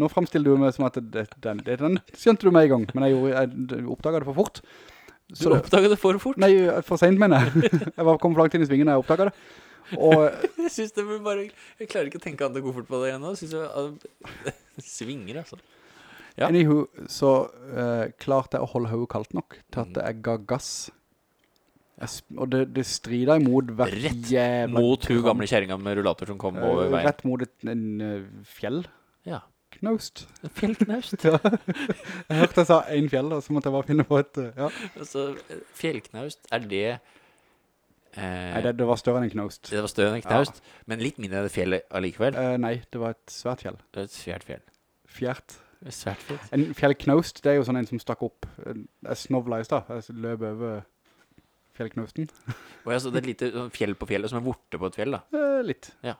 Speaker 1: nå fremstiller du meg som at det, den, det, den skjønte du meg i gang, men jeg, gjorde- jeg oppdaget det for fort.
Speaker 2: Du
Speaker 1: Så det,
Speaker 2: oppdaga det for fort.
Speaker 1: nei, for sent mener jeg. Jeg var kom for langt inn i svingen da jeg oppdaget det. Og
Speaker 2: Jeg synes det blir bare Jeg klarer ikke å tenke annet enn god fort på det ennå. Synes jeg at- det svinger, altså. Ja.
Speaker 1: anywho, så eh, klarte jeg å holde hodet kaldt nok til at jeg ga gass. Jeg, sp- og det, det strider imot hvert
Speaker 2: Rett
Speaker 1: jævla...
Speaker 2: Mot hun
Speaker 1: kram-
Speaker 2: gamle kjerringa med rullator som kom over
Speaker 1: eh,
Speaker 2: veien.
Speaker 1: Rett mot et, en eh, fjell.
Speaker 2: Ja.
Speaker 1: Knaust.
Speaker 2: Fjellknaust.
Speaker 1: Ja. Jeg hørte jeg sa en fjell, og så måtte jeg bare finne på et eh, ja.
Speaker 2: Altså, fjellknaust, er det eh,
Speaker 1: Nei, det, det var større enn en knaust.
Speaker 2: Det var støen en knaust, men litt mindre enn det fjellet allikevel.
Speaker 1: Eh, nei, det var et svært fjell.
Speaker 2: Det er et svært fjell.
Speaker 1: Fjert.
Speaker 2: Et svært fjell.
Speaker 1: En fjellknaust, det er jo sånn en som stakk opp. Jeg snovla i stad. Jeg løp over fjellknausten.
Speaker 2: Og altså, det er et lite sånn fjell på fjellet, som er vorte på et fjell, da.
Speaker 1: Eh, litt.
Speaker 2: Ja.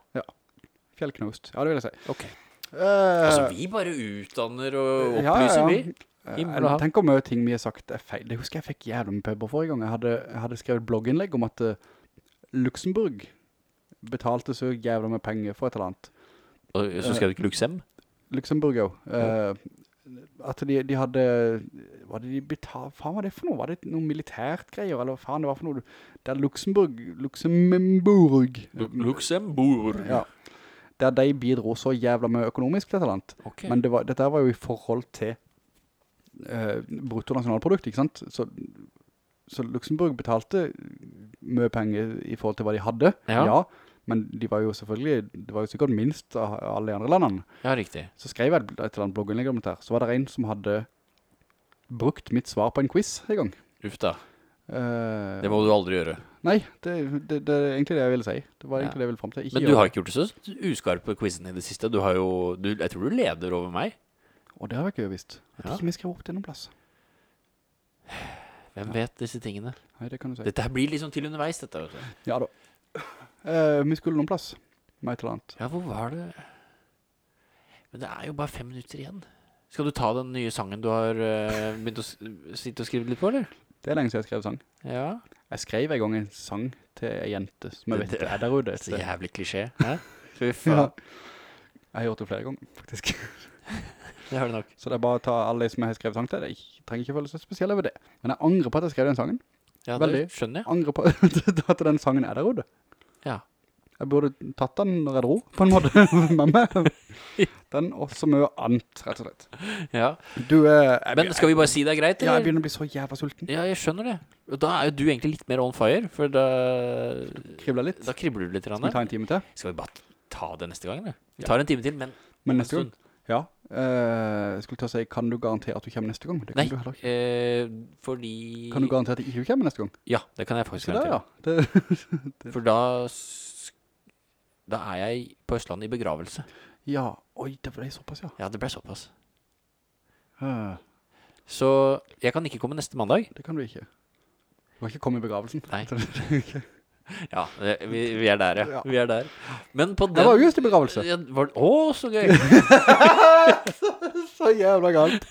Speaker 1: Fjellknaust. Ja, det vil jeg si.
Speaker 2: Ok.
Speaker 1: Eh,
Speaker 2: Altså, vi bare utdanner og
Speaker 1: ja, ja,
Speaker 2: opplyser,
Speaker 1: ja.
Speaker 2: vi.
Speaker 1: Eh,
Speaker 2: Himmel og
Speaker 1: Jeg
Speaker 2: hav.
Speaker 1: tenker mye ting vi har sagt er feil. Det husker jeg fikk jævlig med pubber forrige gang. Jeg hadde, jeg hadde skrevet blogginnlegg om at eh, Luxembourg betalte så jævlig med penger for et eller annet.
Speaker 2: Og så skrev du ikke Luxem?
Speaker 1: Luxembourg jo. Eh, at de, de hadde, hva hadde de betalt, faen var det for noe? Var det noe militært greier, eller hva faen det var for noe? Der Luxembourg, Luxembourg,
Speaker 2: Luxembourg.
Speaker 1: Eh. ja. Der de bidro så jævla mye økonomisk til et eller annet.
Speaker 2: Ok.
Speaker 1: Men det var, dette her var jo i forhold til eh, bruttonasjonalprodukt, ikke sant? Så, så Luxemburg betalte mye penger i forhold til hva de hadde,
Speaker 2: Ja.
Speaker 1: men de var jo selvfølgelig, det var jo sikkert minst av alle de andre landene.
Speaker 2: Ja, riktig.
Speaker 1: Så skrev jeg et et eller annet blogginnlegg om dette her, så var det en som hadde brukt mitt svar på en quiz en gang.
Speaker 2: Uff da.
Speaker 1: Eh,
Speaker 2: Det må du aldri gjøre.
Speaker 1: Nei, det, det, det er egentlig det jeg ville si. Det var egentlig det jeg ville frem til. Ikke
Speaker 2: Men
Speaker 1: gjør
Speaker 2: du har ikke gjort det så uskarp på quizen i det siste. Du har jo du, Jeg tror du leder over meg.
Speaker 1: det. Og det har jeg ikke visst. Jeg tror
Speaker 2: Ja.
Speaker 1: ikke vi skrev opp det noen plass.
Speaker 2: Hvem vet disse tingene?
Speaker 1: Nei, det kan du si.
Speaker 2: Dette her blir liksom til underveis, dette. Vet du.
Speaker 1: Ja da. Eh, vi skulle noen plass med et eller annet.
Speaker 2: Ja, hvor var det Men det er jo bare fem minutter igjen. Skal du ta den nye sangen du har eh, begynt å s- sitte og skrive litt på, eller?
Speaker 1: Det er lenge siden jeg skrev sang.
Speaker 2: Ja.
Speaker 1: Jeg skrev en gang en sang til en jente som jeg
Speaker 2: Det-
Speaker 1: vet er der ute.
Speaker 2: Så jævlig klisjé. Hæ? Fy
Speaker 1: Ja.
Speaker 2: faen.
Speaker 1: Jeg har gjort det flere ganger, faktisk.
Speaker 2: Det har du nok.
Speaker 1: Så det er bare å ta alle de som jeg har skrevet sang til. Jeg trenger ikke føle seg spesiell over det. Men jeg angrer på at jeg skrev den sangen.
Speaker 2: Ja, det
Speaker 1: Veldig.
Speaker 2: skjønner jeg.
Speaker 1: Angrer på at den sangen er der ute.
Speaker 2: Ja.
Speaker 1: Jeg burde tatt den når jeg dro, på en måte, med meg. Den og så mye annet, rett og slett.
Speaker 2: ja.
Speaker 1: Du, eh, jeg,
Speaker 2: Men skal vi bare si det er greit,
Speaker 1: ja, jeg
Speaker 2: eller?
Speaker 1: begynner å bli så jævla sulten.
Speaker 2: Ja, jeg skjønner det. Og da er jo du egentlig litt mer on fire, for da
Speaker 1: Kribler litt.
Speaker 2: Da kribler du litt.
Speaker 1: Skal vi ta en time til?
Speaker 2: Skal vi bare ta det neste gang, eller? Vi tar en time til, men
Speaker 1: Men neste gang? Ja. Eh, jeg skulle til å si, kan du garantere at du kommer neste gang? Det kan
Speaker 2: Nei.
Speaker 1: du heller ikke.
Speaker 2: Eh, fordi
Speaker 1: Kan du garantere at du ikke kommer neste gang?
Speaker 2: Ja, det kan jeg faktisk
Speaker 1: Se der,
Speaker 2: garantere.
Speaker 1: ja. Det,
Speaker 2: For da s- Da er jeg på Østlandet i begravelse.
Speaker 1: ja. Oi, det ble såpass, ja.
Speaker 2: Ja, det ble såpass.
Speaker 1: Eh,
Speaker 2: Så jeg kan ikke komme neste mandag.
Speaker 1: Det kan du ikke. Du har ikke kommet i begravelsen.
Speaker 2: Nei.
Speaker 1: Jeg
Speaker 2: Ja, det- vi, vi er der, ja.
Speaker 1: Ja.
Speaker 2: Vi er der. Men på den
Speaker 1: var altså. jo just i begravelse.
Speaker 2: Ja, var det- Å, så gøy!
Speaker 1: Så jævla galt.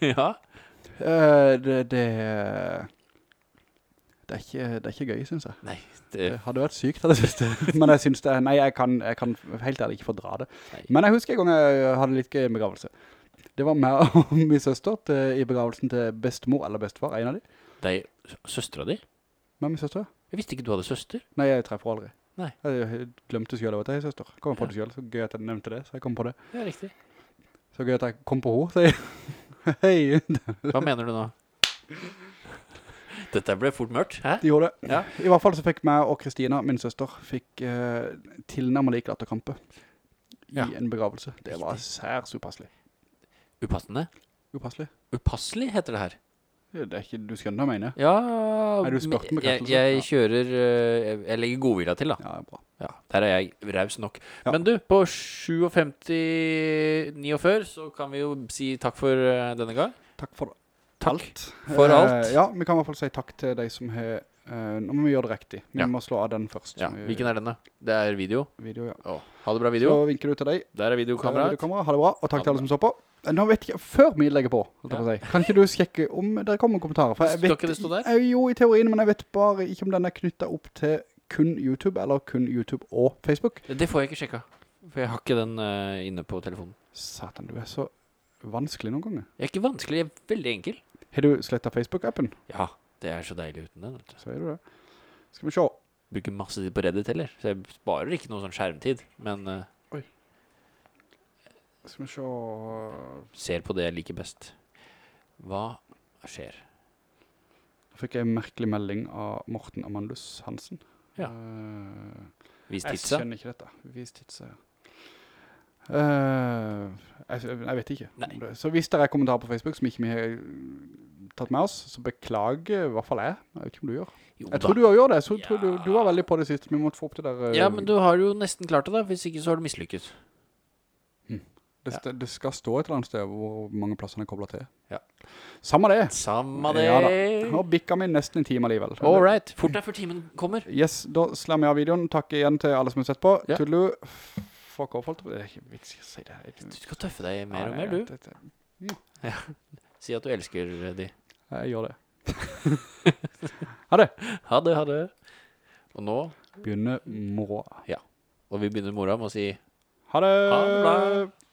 Speaker 2: ja.
Speaker 1: Eh, det, det, det, er ikke, det er ikke gøy, synes jeg.
Speaker 2: Nei,
Speaker 1: Det
Speaker 2: det,
Speaker 1: hadde vært sykt av det siste. Men jeg synes det, nei, jeg kan, jeg kan helt ærlig ikke fordra det.
Speaker 2: Nei.
Speaker 1: Men jeg husker en gang jeg hadde litt gøy i en begravelse. Det var meg og min søster til, i begravelsen til bestemor eller bestefar, en av de.
Speaker 2: det er søstera di?
Speaker 1: Med min søster.
Speaker 2: Jeg visste ikke du hadde søster.
Speaker 1: Nei, jeg treffer henne aldri.
Speaker 2: Nei.
Speaker 1: Jeg glemte selv at jeg har søster. Kommer på det selv, så gøy at jeg nevnte det, så jeg kom på det.
Speaker 2: Det er riktig.
Speaker 1: Så gøy at jeg kom på henne, så jeg... Hei,
Speaker 2: Hva mener du nå? Dette ble fort mørkt. Hæ?
Speaker 1: de gjorde det.
Speaker 2: Ja.
Speaker 1: I hvert fall så fikk meg og Kristina, min søster, fikk eh, tilnærmet lik latterkampe i
Speaker 2: Ja.
Speaker 1: en begravelse. Det var
Speaker 2: Riktig.
Speaker 1: særs upasselig.
Speaker 2: Upassende.
Speaker 1: Upasselig.
Speaker 2: Upasselig heter det her.
Speaker 1: Det er ikke, du skjønner hva jeg mener.
Speaker 2: Ja
Speaker 1: Nei, du spurte om
Speaker 2: men jeg,
Speaker 1: bekreftelse.
Speaker 2: jeg kjører eh, Jeg, jeg legger godvilja til, da.
Speaker 1: Ja, bra.
Speaker 2: Ja, der er jeg raus nok.
Speaker 1: Ja.
Speaker 2: Men du, på 57,49 så kan vi jo si takk for eh, denne gang.
Speaker 1: Takk for det.
Speaker 2: Takk
Speaker 1: Eh,
Speaker 2: for alt.
Speaker 1: ja, vi kan i hvert fall si takk til de som har... eh, nå må vi gjøre det riktig. Vi
Speaker 2: Ja.
Speaker 1: må slå av den først.
Speaker 2: Ja, Hvilken er denne? Det er video.
Speaker 1: video, ja.
Speaker 2: Å, ha det bra,
Speaker 1: Så
Speaker 2: video.
Speaker 1: vinker du til deg.
Speaker 2: Der er
Speaker 1: Der er
Speaker 2: videokameraet.
Speaker 1: videokamera. Ha det bra, og
Speaker 2: Ha
Speaker 1: takk
Speaker 2: det
Speaker 1: til alle som så på. Eh, Nå vet jeg, før vi legger på, holdt jeg på å si, kan ikke du sjekke om det kommer kommentarer? For jeg
Speaker 2: Skal
Speaker 1: vet,
Speaker 2: ikke det stå der?
Speaker 1: Eh, Jo, i teorien, men jeg vet bare ikke om den er knyttet opp til kun YouTube, eller kun YouTube og Facebook.
Speaker 2: Det får jeg ikke sjekka, for jeg har ikke den eh, inne på telefonen.
Speaker 1: Satan, du er så vanskelig noen ganger.
Speaker 2: Jeg er ikke vanskelig, jeg er veldig enkel.
Speaker 1: Har du slettet Facebook-appen?
Speaker 2: Ja, det er så deilig uten den. vet du.
Speaker 1: Så er du det. Skal vi se.
Speaker 2: Bruker masse tid på Reddit heller, så jeg sparer ikke noe sånn skjermtid. Men eh,
Speaker 1: Skal vi se...
Speaker 2: ser på det jeg liker best. Hva skjer?
Speaker 1: Da fikk jeg en merkelig melding av Morten Amandus Hansen.
Speaker 2: Ja.
Speaker 1: Eh,
Speaker 2: Vis
Speaker 1: jeg
Speaker 2: tidsa?
Speaker 1: skjønner ikke dette. Vis tidsa, ja. Eh, jeg, jeg vet ikke.
Speaker 2: Nei.
Speaker 1: Det- Så hvis det er kommentarer på Facebook som ikke vi har tatt med oss, så beklager i hvert fall jeg. Jeg vet ikke om du gjør.
Speaker 2: Jo
Speaker 1: Jeg
Speaker 2: da.
Speaker 1: tror du også gjør det. Så tror du,
Speaker 2: Ja.
Speaker 1: du var veldig på det siste. Vi måtte få opp det der. eh,
Speaker 2: Ja, men du har jo nesten klart det, da. Hvis ikke så har du mislykkes.
Speaker 1: det, st- det skal stå et eller annet sted hvor mange plasser den er koblet til.
Speaker 2: Ja.
Speaker 1: Samme det.
Speaker 2: Samme det.
Speaker 1: Ja da. Nå bikket vi nesten en time alligevel.
Speaker 2: All right. Fort deg før timen kommer.
Speaker 1: Yes, da slammer jeg av videoen. Takk igjen til alle som har sett på.
Speaker 2: Ja.
Speaker 1: Tudelu. Fuck off, holdt jeg på. Det er ikke vits i å si det. Jeg,
Speaker 2: Du skal tøffe deg
Speaker 1: Ja,
Speaker 2: mer og
Speaker 1: nei,
Speaker 2: mer, du.
Speaker 1: det- det-
Speaker 2: Si at du elsker de.
Speaker 1: Jeg gjør det.
Speaker 2: Ha det, ha det. Og nå
Speaker 1: Begynner mora.
Speaker 2: Og vi begynner mora med å si
Speaker 1: Ha det!
Speaker 2: Ha det bra.